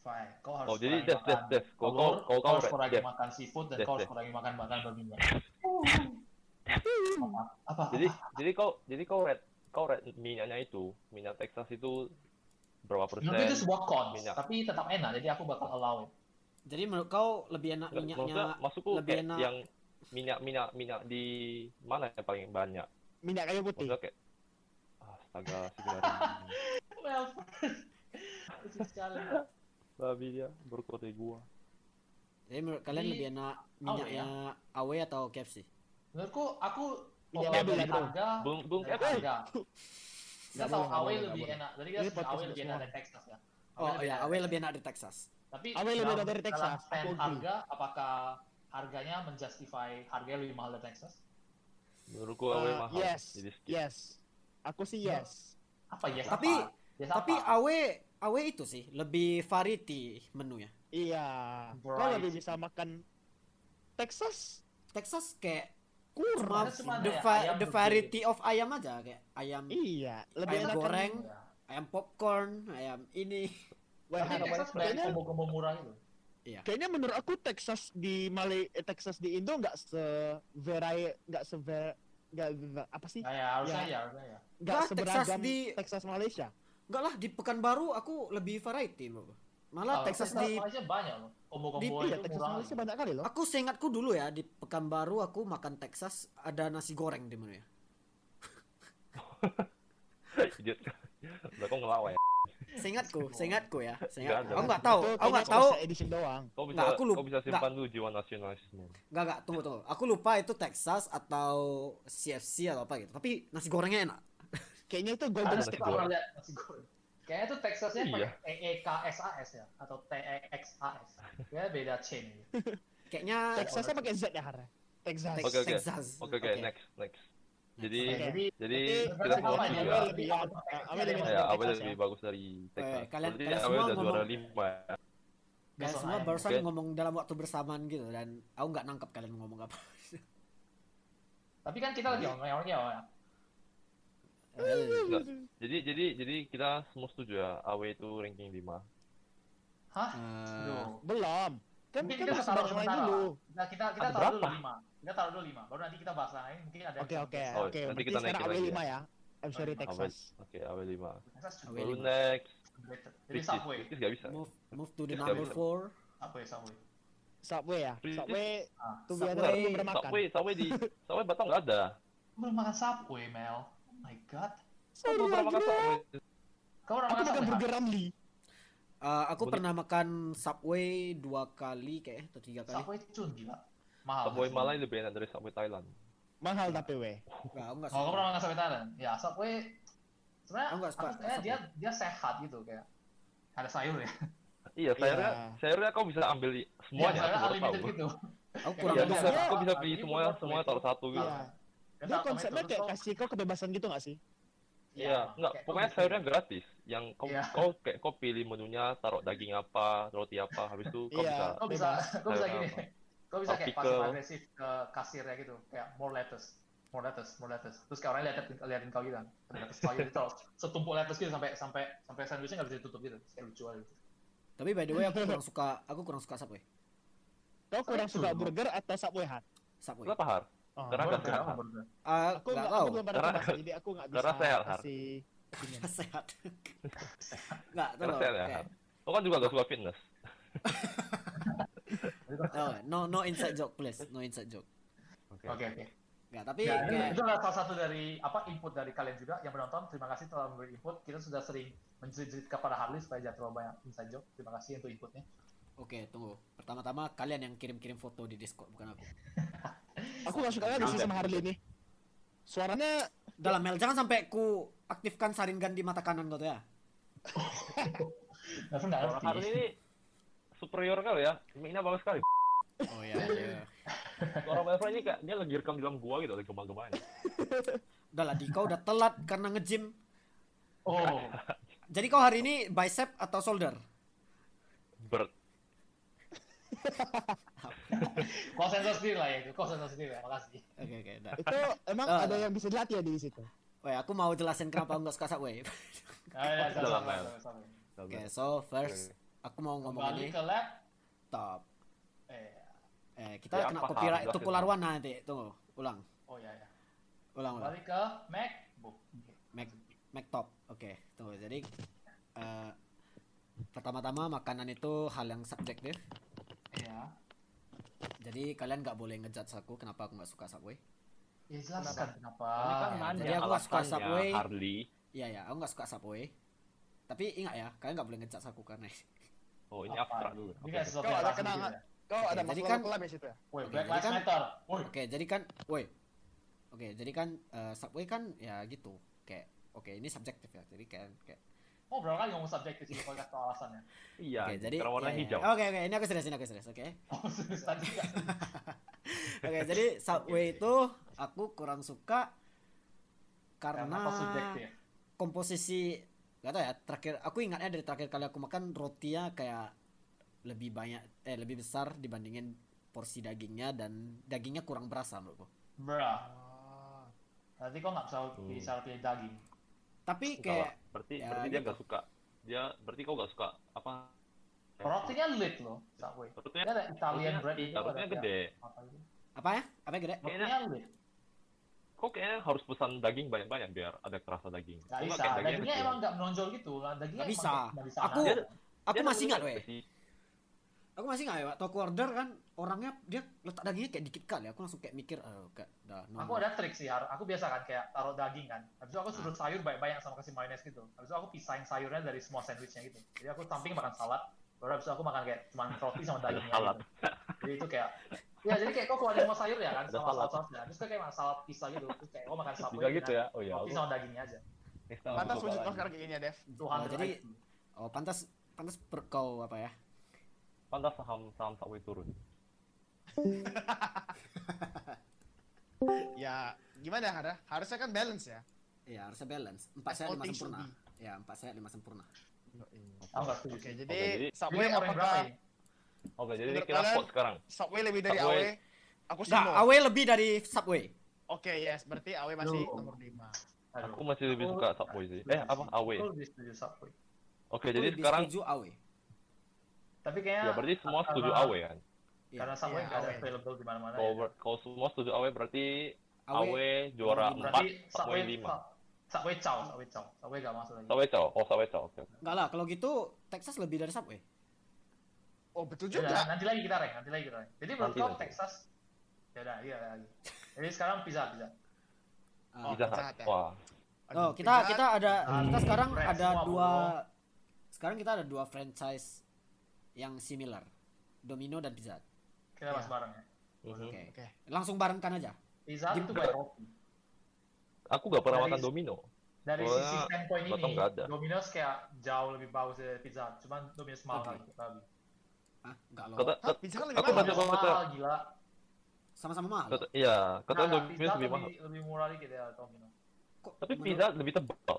Speaker 3: Fine, kau harus
Speaker 2: Oh jadi
Speaker 3: kurangi
Speaker 2: Dev Dev
Speaker 3: makan
Speaker 2: Dev kau kau
Speaker 3: telur,
Speaker 2: kau
Speaker 3: kau
Speaker 2: kau
Speaker 3: harus kurangi
Speaker 2: Dev.
Speaker 3: makan seafood dan
Speaker 2: Dev,
Speaker 3: kau harus
Speaker 2: Dev.
Speaker 3: kurangi makan makanan berminyak. Apa?
Speaker 2: Jadi jadi kau jadi kau red kau red minyaknya itu, minyak Texas itu berapa persen?
Speaker 3: Menurutku itu sebuah cons,
Speaker 2: minyak.
Speaker 3: tapi tetap enak, jadi aku bakal allow it.
Speaker 1: Jadi menurut kau lebih enak
Speaker 2: Nggak,
Speaker 1: minyaknya
Speaker 2: maksudnya- maksudku
Speaker 1: lebih
Speaker 2: kayak
Speaker 1: enak.
Speaker 2: yang minyak minyak minyak di mana yang paling banyak?
Speaker 4: minyak kayu putih.
Speaker 2: Maksudnya kayak ah, astaga sebenarnya
Speaker 3: Well, lucu sekali.
Speaker 2: babi dia berkote gua.
Speaker 1: Jadi menurut kalian
Speaker 3: Jadi,
Speaker 1: lebih enak
Speaker 3: AW
Speaker 1: minyaknya AW atau KFC?
Speaker 3: Menurutku, aku
Speaker 4: Minyak
Speaker 3: kalau
Speaker 4: kayu
Speaker 3: dari
Speaker 4: putih.
Speaker 3: harga,
Speaker 2: Bung bung eh,
Speaker 3: dari
Speaker 2: Kevin.
Speaker 3: harga. Kita tahu
Speaker 4: boleh,
Speaker 3: AW
Speaker 4: Eh, nggak
Speaker 3: lebih
Speaker 4: boleh.
Speaker 3: enak, jadi kita
Speaker 4: Ini
Speaker 3: sudah
Speaker 4: podcast
Speaker 3: AW lebih enak
Speaker 4: semua.
Speaker 3: dari Texas ya.
Speaker 1: Oh
Speaker 3: lebih
Speaker 1: iya,
Speaker 3: enak
Speaker 1: AW
Speaker 3: dari
Speaker 1: lebih enak di Texas.
Speaker 3: Tapi
Speaker 4: AW lebih
Speaker 3: dalam-
Speaker 4: enak dari Texas,
Speaker 3: dalam
Speaker 4: aku
Speaker 3: stand
Speaker 4: agree.
Speaker 3: harga, apakah harganya menjustify harganya lebih mahal dari Texas?
Speaker 2: Menurut gua AW
Speaker 4: Eh,
Speaker 2: mahal.
Speaker 4: yes,
Speaker 2: Jadi skip.
Speaker 4: yes. Aku sih
Speaker 1: Iya.
Speaker 4: yes.
Speaker 3: Apa ya?
Speaker 1: Tapi-
Speaker 3: apa? Yes,
Speaker 1: Tapi
Speaker 3: apa?
Speaker 1: AW AW itu sih lebih variety menunya.
Speaker 4: Iya. Kau
Speaker 3: Right.
Speaker 4: lebih bisa makan Texas
Speaker 1: Texas kayak
Speaker 4: kurang.
Speaker 1: cuma
Speaker 3: Karena cuma
Speaker 1: the,
Speaker 3: ada
Speaker 1: va-
Speaker 3: ayam
Speaker 1: the
Speaker 3: begini.
Speaker 1: variety of ayam aja kayak ayam
Speaker 4: Iya, lebih
Speaker 1: Hmm. Ayam
Speaker 4: enak
Speaker 1: goreng.
Speaker 3: Iya.
Speaker 1: ayam popcorn, ayam ini.
Speaker 3: Tapi Texas banyak
Speaker 4: kayaknya,
Speaker 3: combo-combo murah itu.
Speaker 4: kayaknya menurut aku Texas di Malay, eh, Texas di Indo nggak se verai, nggak se nggak
Speaker 1: Iya.
Speaker 4: apa sih?
Speaker 3: Nah, ya, harusnya
Speaker 4: Ya.
Speaker 3: ya, harusnya ya.
Speaker 4: Nggak
Speaker 1: Nah, Texas
Speaker 4: seberagam
Speaker 1: di-
Speaker 4: Texas Malaysia.
Speaker 1: Enggak lah di Pekanbaru aku lebih variety menurut aku. Malah
Speaker 4: Oh.
Speaker 3: Kalau
Speaker 1: Texas di
Speaker 3: Malaysia banyak loh. Combo-combo
Speaker 1: di-
Speaker 4: Iya,
Speaker 3: itu
Speaker 4: Texas
Speaker 3: murah.
Speaker 4: Malaysia banyak kali loh.
Speaker 1: Aku seingatku dulu ya di Pekanbaru aku makan Texas ada nasi goreng di menu ya.
Speaker 2: Idiot. Lah kau ngelawan ya.
Speaker 1: Seingatku, seingatku ya, seingatku.
Speaker 2: ada.
Speaker 1: Aku nggak tahu,
Speaker 4: Itu
Speaker 1: aku nggak
Speaker 4: kayaknya
Speaker 1: tahu.
Speaker 4: Texas edition doang.
Speaker 2: Kau bisa
Speaker 1: Nggak, aku lup-
Speaker 2: kau bisa simpan dulu jiwa nasionalisme.
Speaker 1: Enggak, enggak, tunggu, tunggu. Aku lupa itu Texas atau CFC atau apa gitu. Tapi nasi gorengnya enak.
Speaker 4: Kayaknya itu
Speaker 3: Ada
Speaker 4: Golden
Speaker 2: nasi
Speaker 4: State.
Speaker 3: nasi goreng.
Speaker 2: goreng.
Speaker 3: Lihat nasi goreng. Kayaknya tuh Texasnya
Speaker 2: Iya.
Speaker 3: pakai E TEKSAS ya atau TEXAS. Ya beda chain.
Speaker 1: Kayaknya
Speaker 4: Texasnya Nah, pakai Z ya Har. Texas.
Speaker 1: Tex-
Speaker 2: Oke, oke.
Speaker 1: Texas.
Speaker 2: Oke oke next next. Jadi
Speaker 4: Oke.
Speaker 3: Jadi
Speaker 2: jadi
Speaker 4: Berarti
Speaker 2: kita semua
Speaker 4: apa
Speaker 3: ini?
Speaker 2: juga
Speaker 4: Lebih ya, Awel lebih
Speaker 2: Ya,
Speaker 4: dari
Speaker 2: Awel
Speaker 4: Texas
Speaker 2: lebih
Speaker 4: ya.
Speaker 2: bagus dari Texas.
Speaker 1: kalian-
Speaker 2: Berarti
Speaker 1: kalian
Speaker 2: Awel
Speaker 1: semua
Speaker 2: udah juara
Speaker 1: ngomong-
Speaker 2: lima ya.
Speaker 1: Kalian
Speaker 3: besok
Speaker 1: semua
Speaker 3: ayam.
Speaker 1: barusan
Speaker 2: Oke.
Speaker 1: ngomong dalam waktu bersamaan gitu dan aku nggak nangkep kalian mau ngomong apa.
Speaker 3: Tapi kan kita lagi orang-orangnya ya.
Speaker 1: Eh,
Speaker 2: Nggak. Jadi jadi jadi kita semua setuju ya AW itu ranking 5.
Speaker 3: Hah?
Speaker 1: eh,
Speaker 3: Aduh.
Speaker 4: Belum. Kan
Speaker 3: Mungkin
Speaker 4: kan
Speaker 3: kita
Speaker 4: harus
Speaker 3: taruh
Speaker 4: bahas yang lain
Speaker 3: sementara.
Speaker 4: dulu.
Speaker 3: Nah, kita kita
Speaker 2: Ada
Speaker 3: taruh dulu
Speaker 2: berapa?
Speaker 3: 5. Kita taruh dulu 5. Baru nanti kita bahas yang lain. Mungkin ada
Speaker 4: Oke oke
Speaker 2: Oh,
Speaker 4: oke.
Speaker 2: nanti
Speaker 4: Berarti
Speaker 2: kita
Speaker 4: sekarang
Speaker 2: naikin
Speaker 4: AW
Speaker 2: lagi
Speaker 4: lima ya. I'm
Speaker 3: Oh,
Speaker 4: sorry
Speaker 3: iya.
Speaker 4: Texas.
Speaker 2: Oke, AW 5.
Speaker 3: Texas
Speaker 1: AW
Speaker 3: juga
Speaker 2: Baru
Speaker 1: lima.
Speaker 2: next,
Speaker 3: underrated. Jadi
Speaker 2: Ricis.
Speaker 3: Subway.
Speaker 2: Ricis nggak bisa.
Speaker 1: move move to the
Speaker 2: Kita
Speaker 1: number
Speaker 2: bisa.
Speaker 1: four.
Speaker 3: Subway, Subway.
Speaker 4: Subway ya.
Speaker 2: Ricis.
Speaker 4: Subway ya,
Speaker 3: Ah,
Speaker 4: tuh biasa
Speaker 1: Subway.
Speaker 4: aku belum pernah makan.
Speaker 2: Subway, Subway di Subway Batam nggak ada.
Speaker 3: Belum makan Subway, Mel. Oh my god.
Speaker 4: Sorry,
Speaker 2: Aku pernah makan
Speaker 4: Andre.
Speaker 2: Subway.
Speaker 3: Kamu orang
Speaker 4: Aku
Speaker 3: makan
Speaker 4: makan
Speaker 3: Subway?
Speaker 4: burger Ramly.
Speaker 1: Eh, aku
Speaker 2: Boleh.
Speaker 1: pernah makan Subway dua kali kayak atau tiga kali.
Speaker 3: Subway cun gila. Mahal.
Speaker 2: Subway Malay lebih enak dari Subway Thailand.
Speaker 4: Mahal tapi weh.
Speaker 1: Nggak, aku nggak
Speaker 3: Kalau Oh,
Speaker 1: suka.
Speaker 3: kamu pernah makan Subway Thailand? Ya, Subway sebenarnya
Speaker 1: Aku nggak suka
Speaker 3: aku percaya dia dia sehat gitu kayak ada sayur ya.
Speaker 2: Iya, sayurnya
Speaker 4: Iya.
Speaker 2: sayurnya kau bisa ambil i- semuanya.
Speaker 3: sayurnya
Speaker 2: aku baru
Speaker 3: unlimited
Speaker 2: tahu.
Speaker 3: gitu.
Speaker 1: Aku
Speaker 3: Kayak
Speaker 1: kurang
Speaker 2: Iya,
Speaker 3: dia
Speaker 1: suka.
Speaker 2: kau-
Speaker 4: Iya.
Speaker 2: kau bisa pilih semuanya, semuanya taruh satu gitu.
Speaker 4: Iya. Dia konsepnya kayak kasih kau kebebasan gitu gak sih?
Speaker 2: Iya, enggak, pokoknya sayurnya gratis. Yang kau
Speaker 3: Iya.
Speaker 2: kau kayak kau pilih menunya, taruh daging apa, roti apa, habis itu kau
Speaker 4: Iya.
Speaker 2: bisa
Speaker 3: Kau bisa, kau bisa
Speaker 2: Sayurnya
Speaker 3: gini. Kau bisa kayak
Speaker 2: Partikel.
Speaker 3: pasif agresif ke kasirnya gitu, kayak more lettuce, more lettuce, more lettuce. Terus kayak orangnya liatin liatin kau gitu kan. Ada lettuce kau gitu, terus setumpuk lettuce gitu sampai sampai sampai sandwichnya nggak bisa ditutup gitu. Terus Kayak lucu aja. gitu.
Speaker 1: Tapi by the way aku kurang suka aku kurang suka Subway.
Speaker 4: Kau kurang
Speaker 3: Subway
Speaker 4: suka
Speaker 3: dulu.
Speaker 4: burger atau Subway hat?
Speaker 1: Subway.
Speaker 2: Kenapa Har?
Speaker 4: Oh.
Speaker 2: Karena nggak
Speaker 3: Burger,
Speaker 2: sehat.
Speaker 3: apa burger?
Speaker 1: Ah,
Speaker 4: Aku
Speaker 1: nggak
Speaker 4: nggak
Speaker 1: tahu.
Speaker 4: aku belum pernah
Speaker 2: Karena-
Speaker 4: coba sih, jadi aku nggak bisa
Speaker 2: karena sehat, Har.
Speaker 4: kasih opinion.
Speaker 1: sehat. Enggak, tahu.
Speaker 2: Karena sehat ya, Har. Kau kan juga nggak suka fitness.
Speaker 1: Oh, No, no inside joke please. No inside joke.
Speaker 2: Oke.
Speaker 3: Oke oke.
Speaker 1: Enggak, tapi
Speaker 2: Iya,
Speaker 3: Ya, itu,
Speaker 1: kayak-
Speaker 3: itu adalah salah satu dari apa input dari kalian juga yang menonton. Terima kasih telah memberi input. Kita sudah sering menjerit kepada Harley supaya jangan terlalu banyak inside joke. Terima kasih untuk inputnya.
Speaker 1: Oke, tunggu. Pertama-tama kalian yang kirim-kirim foto di Discord, bukan aku.
Speaker 4: Aku nggak suka lagi sih sama Harley ini. Suaranya
Speaker 1: Dalam Mel, jangan sampai ku aktifkan saringan di mata kanan kau tuh ya.
Speaker 3: Tapi nggak
Speaker 2: Orang Harley
Speaker 3: ngerti.
Speaker 2: ini superior kali ya. Minya bagus sekali.
Speaker 1: Oh iya, iya.
Speaker 2: Orang Melfry ini kayak dia lagi rekam di dalam gua gitu, lagi gemar-gemarnya.
Speaker 1: Udah lah, di kau udah telat karena nge-gym.
Speaker 3: Oh,
Speaker 1: Jadi kau hari ini bicep atau shoulder?
Speaker 2: Bird.
Speaker 3: kau sensor sendiri lah ya itu. Kau sensor sendiri ya. Makasih.
Speaker 1: Oke, oke, udah.
Speaker 4: itu emang
Speaker 1: Oh,
Speaker 4: ada
Speaker 1: iya.
Speaker 4: yang bisa dilatih ya di situ.
Speaker 1: Woi, aku mau jelasin kenapa aku nggak suka Subway.
Speaker 3: Ya, ya,
Speaker 2: Sudah
Speaker 3: sensor,
Speaker 2: lama ya.
Speaker 3: sensor, sensor.
Speaker 1: Oke, so first aku mau ngomong
Speaker 3: Kembali
Speaker 1: ini
Speaker 3: ke lab.
Speaker 1: top.
Speaker 3: Eh,
Speaker 1: Eh, kita
Speaker 2: Ya,
Speaker 1: kena
Speaker 2: apa
Speaker 1: copyright
Speaker 2: harus
Speaker 1: itu
Speaker 2: jelasin?
Speaker 3: iya,
Speaker 1: keluar warna nanti. Tunggu, ulang.
Speaker 3: oh ya ya.
Speaker 1: Ulang, ulang.
Speaker 3: Kembali ke MacBook.
Speaker 1: Mac Mac top. Oke, tunggu. Jadi eh, pertama-tama makanan itu hal yang subjektif.
Speaker 3: Iya.
Speaker 1: Jadi kalian nggak boleh ngejudge aku kenapa aku nggak suka Subway.
Speaker 3: Ya jelaskan kenapa.
Speaker 5: Ini kan
Speaker 1: ya,
Speaker 5: nanya
Speaker 1: jadi aku nggak suka
Speaker 2: alasannya,
Speaker 1: Subway.
Speaker 2: Harley.
Speaker 1: Iya ya, aku nggak suka Subway. Tapi ingat ya, kalian nggak boleh ngejudge aku karena
Speaker 2: Oh ini
Speaker 3: Apa?
Speaker 2: abstrak dulu.
Speaker 3: Ini kayak sesuatu
Speaker 4: Kau
Speaker 3: yang
Speaker 4: ada
Speaker 3: langsung
Speaker 4: kenangan?
Speaker 3: gitu ya.
Speaker 4: Kau ada
Speaker 1: Jadi kan-
Speaker 4: masalah kan, kelam di situ ya?
Speaker 3: Woi,
Speaker 1: Oke,
Speaker 3: Black
Speaker 1: jadi
Speaker 3: Lives
Speaker 1: kan-
Speaker 3: Matter. Woi,
Speaker 1: Oke, jadi kan, woi, oke, jadi kan eh, subway kan ya gitu, kayak, oke ini subjektif ya, jadi kayak, kayak,
Speaker 3: oh berapa kali ngomong subjektif sih kalau kasih tau alasannya.
Speaker 2: Iya.
Speaker 1: oke, jadi,
Speaker 2: karena warna
Speaker 1: ya, ya.
Speaker 2: hijau.
Speaker 1: oke, oke, ini aku serius, ini aku serius, oke,
Speaker 3: Oh, serius tadi enggak.
Speaker 1: oke, jadi subway itu aku kurang suka
Speaker 3: Karena
Speaker 1: karena
Speaker 3: apa subjektif?
Speaker 1: komposisi, gak tau ya, terakhir, aku ingatnya dari terakhir kali aku makan rotinya kayak lebih banyak, eh lebih besar dibandingin porsi dagingnya dan dagingnya kurang berasa menurutku.
Speaker 3: Bra.
Speaker 4: ya?
Speaker 3: Berarti kok nggak bisa bisa pilih daging.
Speaker 1: Tapi
Speaker 2: Enggak lah.
Speaker 1: kayak,
Speaker 2: Berarti
Speaker 1: ya,
Speaker 2: berarti dia
Speaker 1: gitu.
Speaker 2: nggak suka. Dia berarti kau nggak suka apa?
Speaker 3: Rotinya lit loh, Subway.
Speaker 2: Perutnya
Speaker 3: Ini ada Italian
Speaker 2: harusnya-
Speaker 3: bread itu ada
Speaker 2: harusnya gede.
Speaker 3: kayak Apa gitu?
Speaker 1: apa ya, apa ya gede?
Speaker 2: Kayaknya
Speaker 3: Rotinya lit.
Speaker 2: kok kayaknya harus pesan daging banyak-banyak biar ada kerasa daging. Kok
Speaker 3: Gak bisa.
Speaker 2: kayak
Speaker 3: Dagingnya
Speaker 2: kecil?
Speaker 3: emang nggak menonjol gitu. lah. Dagingnya
Speaker 1: Nggak
Speaker 3: emang
Speaker 1: bisa.
Speaker 3: nggak bisa.
Speaker 1: Aku-
Speaker 3: Nah,
Speaker 1: Aku
Speaker 2: Dia
Speaker 1: masih ingat
Speaker 2: dagingnya
Speaker 1: weh,
Speaker 2: kecil.
Speaker 1: aku masih nggak ya waktu aku order kan orangnya dia letak dagingnya kayak dikit kali aku langsung kayak mikir eh kayak dah no,
Speaker 3: Aku
Speaker 1: no."
Speaker 2: Hmm.
Speaker 3: ada trik sih, Har. aku biasa kan kayak taruh daging kan. Habis itu aku suruh sayur banyak-banyak sama kasih mayones gitu. Habis itu aku pisahin sayurnya dari semua sandwichnya gitu. Jadi aku samping makan salad, baru habis itu aku makan kayak cuma roti sama
Speaker 2: Ada
Speaker 3: daging.
Speaker 2: salad.
Speaker 3: Jadi itu kayak Ya jadi kayak kok kalau ada mau sayur ya kan
Speaker 2: Ada
Speaker 3: sama
Speaker 2: salad.
Speaker 3: saus ya. Terus kayak makan salad pisah gitu. Terus kayak oh makan sapi
Speaker 2: Bisa gitu ya. Oh ya.
Speaker 3: Roti sama dagingnya aja.
Speaker 4: Pantas wujud kau sekarang kayak gini ya, Dev.
Speaker 3: Tuhan
Speaker 1: Oh, jadi
Speaker 3: terbaik.
Speaker 1: oh pantas pantas per kau apa ya
Speaker 2: Pantas saham saham Subway turun.
Speaker 4: Ya, gimana ya, Hara? Harusnya kan balance ya.
Speaker 1: ya harusnya balance empat sehat
Speaker 4: All
Speaker 1: lima
Speaker 4: things should
Speaker 1: sempurna
Speaker 4: be.
Speaker 1: ya empat sehat lima sempurna
Speaker 3: Aku nggak setuju.
Speaker 4: Oke,
Speaker 3: sih.
Speaker 4: jadi
Speaker 2: jadi-
Speaker 4: Subway
Speaker 3: Jadi orang berapa ya?
Speaker 4: apakah
Speaker 3: ini?
Speaker 2: Oke, jadi
Speaker 4: Menurut
Speaker 2: kita
Speaker 4: kalian-
Speaker 2: vote sekarang.
Speaker 4: Subway lebih dari
Speaker 2: Subway.
Speaker 4: AW? Aku sih
Speaker 1: nggak
Speaker 4: no.
Speaker 1: awe lebih dari subway
Speaker 4: Oke, yes. Berarti AW masih
Speaker 3: No.
Speaker 4: nomor 5.
Speaker 3: Aduh.
Speaker 2: Aku masih lebih
Speaker 3: Aku-
Speaker 2: suka Subway sih. Eh, apa? Awe.
Speaker 3: Aku lebih setuju Subway.
Speaker 2: Oke,
Speaker 1: Aku
Speaker 2: jadi
Speaker 1: lebih
Speaker 2: sekarang
Speaker 1: setuju awe
Speaker 3: Tapi kayaknya
Speaker 2: ya berarti semua setuju
Speaker 3: karena-
Speaker 2: Awe kan.
Speaker 1: Iya.
Speaker 3: Karena Subway
Speaker 4: Iya,
Speaker 3: nggak ada
Speaker 4: Awe.
Speaker 3: available di mana-mana.
Speaker 2: Kalau
Speaker 3: ya.
Speaker 2: ber- kalau semua setuju Awe berarti
Speaker 1: awe
Speaker 2: Awe juara
Speaker 1: Berarti
Speaker 2: 4, Subway
Speaker 3: Subway
Speaker 2: 5.
Speaker 3: Subway caw, Subway caw. Subway gak masuk lagi.
Speaker 2: Subway Chow. Oh, Subway Chow. Oke. oke.
Speaker 1: nggak lah kalau gitu Texas lebih dari subway
Speaker 4: Oh, betul
Speaker 3: Yaudah,
Speaker 4: juga.
Speaker 3: nanti lagi kita rank, nanti lagi kita rank. Jadi menurut
Speaker 2: Nanti,
Speaker 3: kau
Speaker 2: nanti.
Speaker 3: Texas ya udah, iya lagi. Jadi sekarang pizza pizza.
Speaker 1: Ah.
Speaker 2: Pizza
Speaker 4: Pizza
Speaker 2: Hut.
Speaker 4: Hut ya.
Speaker 2: Wah,
Speaker 1: oh kita
Speaker 4: Aduh, Pizza kan? Hut.
Speaker 1: kita ada
Speaker 2: Hmm.
Speaker 3: Ah,
Speaker 1: kita sekarang
Speaker 3: Brand
Speaker 1: ada
Speaker 3: semua,
Speaker 1: dua
Speaker 3: bodoh.
Speaker 1: sekarang kita ada dua franchise yang similar Domino dan Pizza Hut.
Speaker 3: Kita bahas bareng ya.
Speaker 2: mhm.
Speaker 1: Oke.
Speaker 4: Oke.
Speaker 1: Langsung barengkan aja.
Speaker 3: Pizza
Speaker 1: Gim-
Speaker 3: itu banyak roti.
Speaker 2: Aku gak pernah
Speaker 3: Dari-
Speaker 2: makan Domino.
Speaker 3: Dari
Speaker 2: Wah,
Speaker 3: sisi standpoint
Speaker 2: gotong
Speaker 3: ini,
Speaker 2: nggak ada.
Speaker 3: Domino's kayak jauh lebih bagus dari Pizza Hut. Cuman Domino's mahal
Speaker 1: Oke.
Speaker 3: kali, babi.
Speaker 1: Ah, enggak loh.
Speaker 2: Kata,
Speaker 4: Hah,
Speaker 2: kata-
Speaker 4: Pizza Hut lebih
Speaker 2: Aku
Speaker 4: mahal.
Speaker 2: baca-
Speaker 3: Domino's mahal, gila.
Speaker 1: Sama-sama mahal.
Speaker 2: kata- iya, kata
Speaker 3: Nah,
Speaker 2: Domino
Speaker 3: Pizza Hut
Speaker 2: lebih mahal.
Speaker 3: Lebih murah dikit ya Domino's.
Speaker 1: Kok
Speaker 2: Tapi
Speaker 1: menurut- Oh,
Speaker 2: pizza Hut lebih tebal.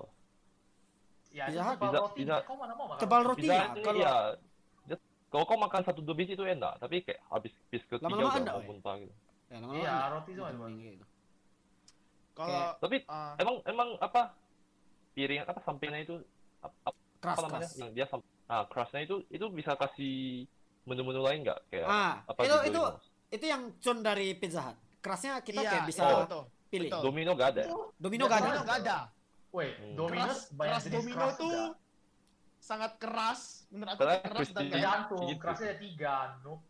Speaker 3: Ya,
Speaker 1: Pizza
Speaker 3: itu
Speaker 1: Hut,
Speaker 3: tebal
Speaker 2: Pizza-
Speaker 3: roti.
Speaker 2: Pizza-
Speaker 3: Kau mana mau makan
Speaker 1: Tebal
Speaker 3: roti?
Speaker 1: roti
Speaker 2: Pizza
Speaker 1: ya?
Speaker 2: Hut ini,
Speaker 1: Kalau
Speaker 2: iya. Dia- Kalau kau makan satu dua biji itu enak, tapi kayak habis habis ketiga
Speaker 1: Lama-lama
Speaker 2: udah
Speaker 1: anda,
Speaker 2: mau
Speaker 1: weh.
Speaker 2: muntah gitu.
Speaker 1: ya, lama-lama
Speaker 3: Iya,
Speaker 1: enggak.
Speaker 3: roti cuma
Speaker 1: Bukan
Speaker 3: itu.
Speaker 1: yang gitu.
Speaker 4: Kalau
Speaker 2: Tapi
Speaker 4: eh,
Speaker 2: emang emang apa piringan apa sampingnya itu ap- ap-
Speaker 1: Keras,
Speaker 2: apa namanya
Speaker 1: keras.
Speaker 2: yang dia sam- ah crustnya itu itu bisa kasih menu-menu lain nggak kayak
Speaker 1: Ah,
Speaker 2: Iya, apa gitu,
Speaker 1: itu
Speaker 2: iya. di
Speaker 1: itu
Speaker 2: Domino's?
Speaker 1: itu yang con dari Pizza Hut. Kerasnya kita
Speaker 4: iya,
Speaker 1: kayak bisa
Speaker 4: iya, betul.
Speaker 1: pilih.
Speaker 4: betul.
Speaker 2: Domino nggak ada ya?
Speaker 1: Domino gak ada.
Speaker 4: Domino nggak ada.
Speaker 3: Weh,
Speaker 2: Hmm.
Speaker 4: Keras,
Speaker 3: Domino's banyak
Speaker 4: keras
Speaker 3: jenis
Speaker 4: Domino
Speaker 3: keras
Speaker 4: tuh
Speaker 3: juga.
Speaker 4: sangat keras. Menurut aku
Speaker 2: Karena
Speaker 4: keras dan
Speaker 2: crispy.
Speaker 4: kayak
Speaker 3: Tergantung,
Speaker 2: Gitu.
Speaker 3: kerasnya ada tiga, Nuk.